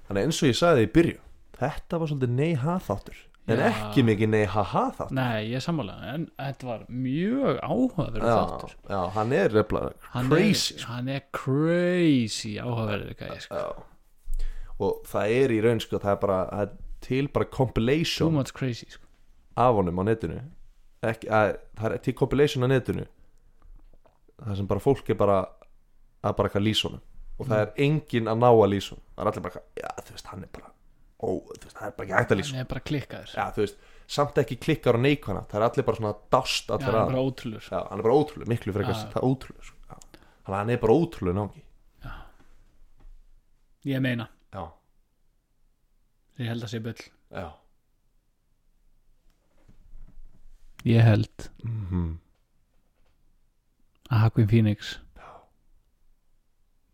A: þannig eins og ég sagði í byrju þetta var svolítið nei-haþáttur en
B: Já.
A: ekki mikið nei haha þátt
B: Nei, ég er sammála En þetta var mjög áhugaverð
A: já,
B: þáttur
A: já, hann er refla
B: hann
A: crazy sko.
B: er, Hann er crazy áhugaverður gæði sko.
A: já. og það er í raun sko það er bara það er til bara
B: Too
A: compilation
B: much crazy sko.
A: af honum á netinu ekki, að, það er til compilation á netinu það sem bara fólk er bara að bara eitthvað lýsa honum og það er enginn að ná að lýsa honum það er allir bara eitthvað, já þú veist hann er bara ó þú veist það er bara ekki hægt að lýsa honum
B: Hann er bara klikkaður
A: já þú veist samt ekki klikkar og neikvæna það er allir bara svona dást
B: Já,
A: allir
B: hann er
A: að
B: bara sko. ótrúlur
A: já, hann er bara ótrúlega miklu frekar
B: Já.
A: það er ótrúlega sko. Já. þannig að hann er bara ótrúlega nági
B: Ég meina,
A: já
B: ég held að sé bull
A: já
B: Ég held
A: mm
B: að Hakvin Phoenix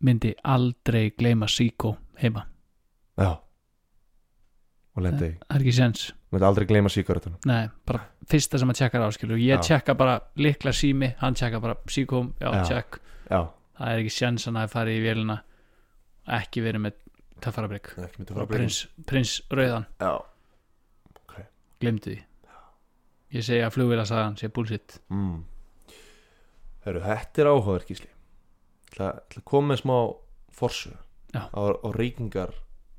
B: myndi aldrei gleyma Siko heima
A: já og lendi
B: Það er ekki sens
A: myndi aldrei gleyma síkaretunum
B: Nei, bara fyrsta sem að tjekkar á skilur Ég
A: Já.
B: tjekka bara likla sími Hann tjekka bara Siko, já,
A: Já.
B: já. tjekk
A: já
B: Það er ekki sens hann að fara í vélina ekki verið með töffarabrik
A: ekki myndi
B: og prins, prins Rauðan
A: já
B: glemdi því ég segi að flugvila sagðan sé bullshit
A: mm. Heru, þetta er áhugaður gísli ætla, ætla að koma með smá forsu
B: Já.
A: á, á reykingar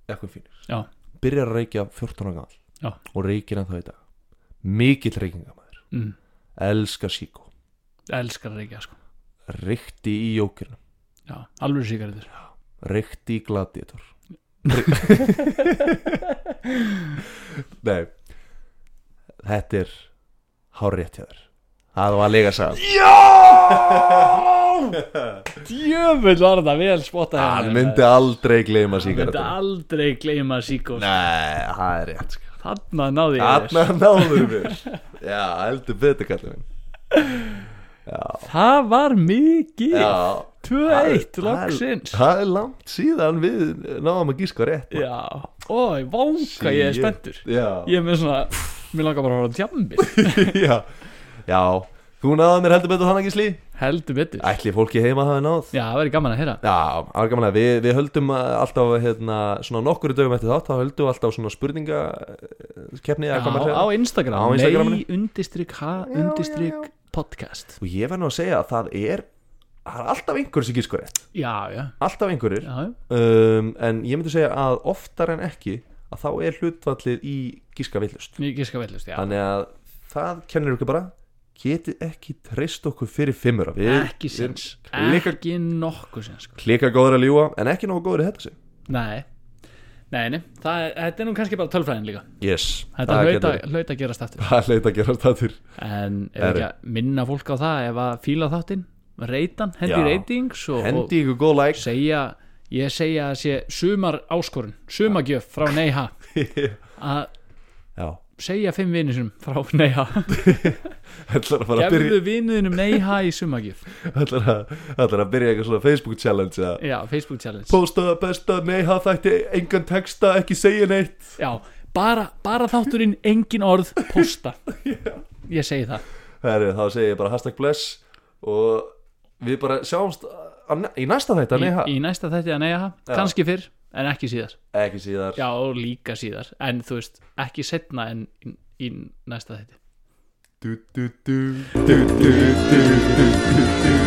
A: eitthvað fínir
B: Já.
A: byrjar að reykja 14 ára gamall
B: Já.
A: og reykir hann þá í dag mikill reykingamæður,
B: mm.
A: elska síkó
B: elskar það ekki sko.
A: reykti í jókirnum,
B: Já, alveg síkaritur
A: reykti í gladiator nei þetta er hárétt hjá þér það var líka sagði <laughs>
B: Já Djöfull var þetta vel spotta
A: hann myndi aldrei gleyma
B: Hann myndi
A: síkaretunum
B: aldrei gleyma síkó
A: nei, það er rétt sko
B: Þarna náði ég þess
A: Þarna náður við Já, heldur betur kallið minn
B: Það var mikið
A: Já
B: 2-1
A: Það er-
B: loksins
A: Það er langt síðan við náðum að gíska rétt maður.
B: Já, ói, vanga ég er
A: Shit.
B: spenntur
A: Já,
B: Ég er með svona, mér langar bara að horfa tjambi
A: <laughs> já Já, þú náðum mér heldur betur þannig gísli
B: Heldur betur
A: Ætli fólki heima hafi náð
B: Já, það verður gaman að heyra
A: Já, það var gaman að við, við höldum alltaf hérna, svona nokkuru dögum eftir þátt þá höldum við alltaf svona spurningakeppni
B: Já,
A: eða hvað maður
B: á
A: segir.
B: Instagram,
A: Á Instagraminu.
B: Nei, undistrykk, ha,
A: já,
B: undistrykk podcast
A: Og ég verð nú að segja að það er það er alltaf einhverjur sem gískur rétt
B: Já, já,
A: Alltaf einhverjur
B: já, já.
A: um, en ég myndi segja að oftar en ekki að þá er hlutvallið í gíska villust
B: Ég giska vellust, já
A: þannig að það kennir ykkur bara getið ekki treyst okkur fyrir fimmur
B: Ekki sens,
A: líka-
B: ekki nokkuð sens sko.
A: klika góður að ljúa en ekki nógu góður í þetta sig
B: Nei, nei, nei það, er- Þetta er nú kannski bara tölfræðin líka
A: yes,
B: Þetta hlaut
A: getur-
B: að- hlaut að gerast aftur
A: það leita að gera statur
B: En er ekki að minna fólk á það ef að fíla þáttinn, reytan, hendi
A: Já.
B: reytings og,
A: hendi ykkur góð
B: og
A: like
B: segja Ég segja að sé sumar áskorun, sumagjöf frá
A: <laughs>
B: Neiha að
A: já, <laughs>
B: segja fimm vinnisum frá Neiha
A: ætlar að fara að byrja
B: Gefðu vinuðinum neyha í sumagjöf
A: ætlar að, ætlar að byrja eitthvað svona Facebook challenge eða
B: Já, Facebook challenge
A: posta besta, nei það þætti engan texta, ekki segja neitt
B: Já, bara, bara þátturinn engin orð <laughs> posta Ég segi það
A: Herri, þá segi ég bara hashtag bless og við bara sjáumst á, á- í næsta þetta, nei,
B: Í, í næsta þætti að neyha,
A: Já.
B: kannski fyrr en ekki síðar
A: ekki síðar
B: Já, og líka síðar, en þú veist ekki setna en í, í næsta þætti
A: du, du, du, du, du, du, du, du.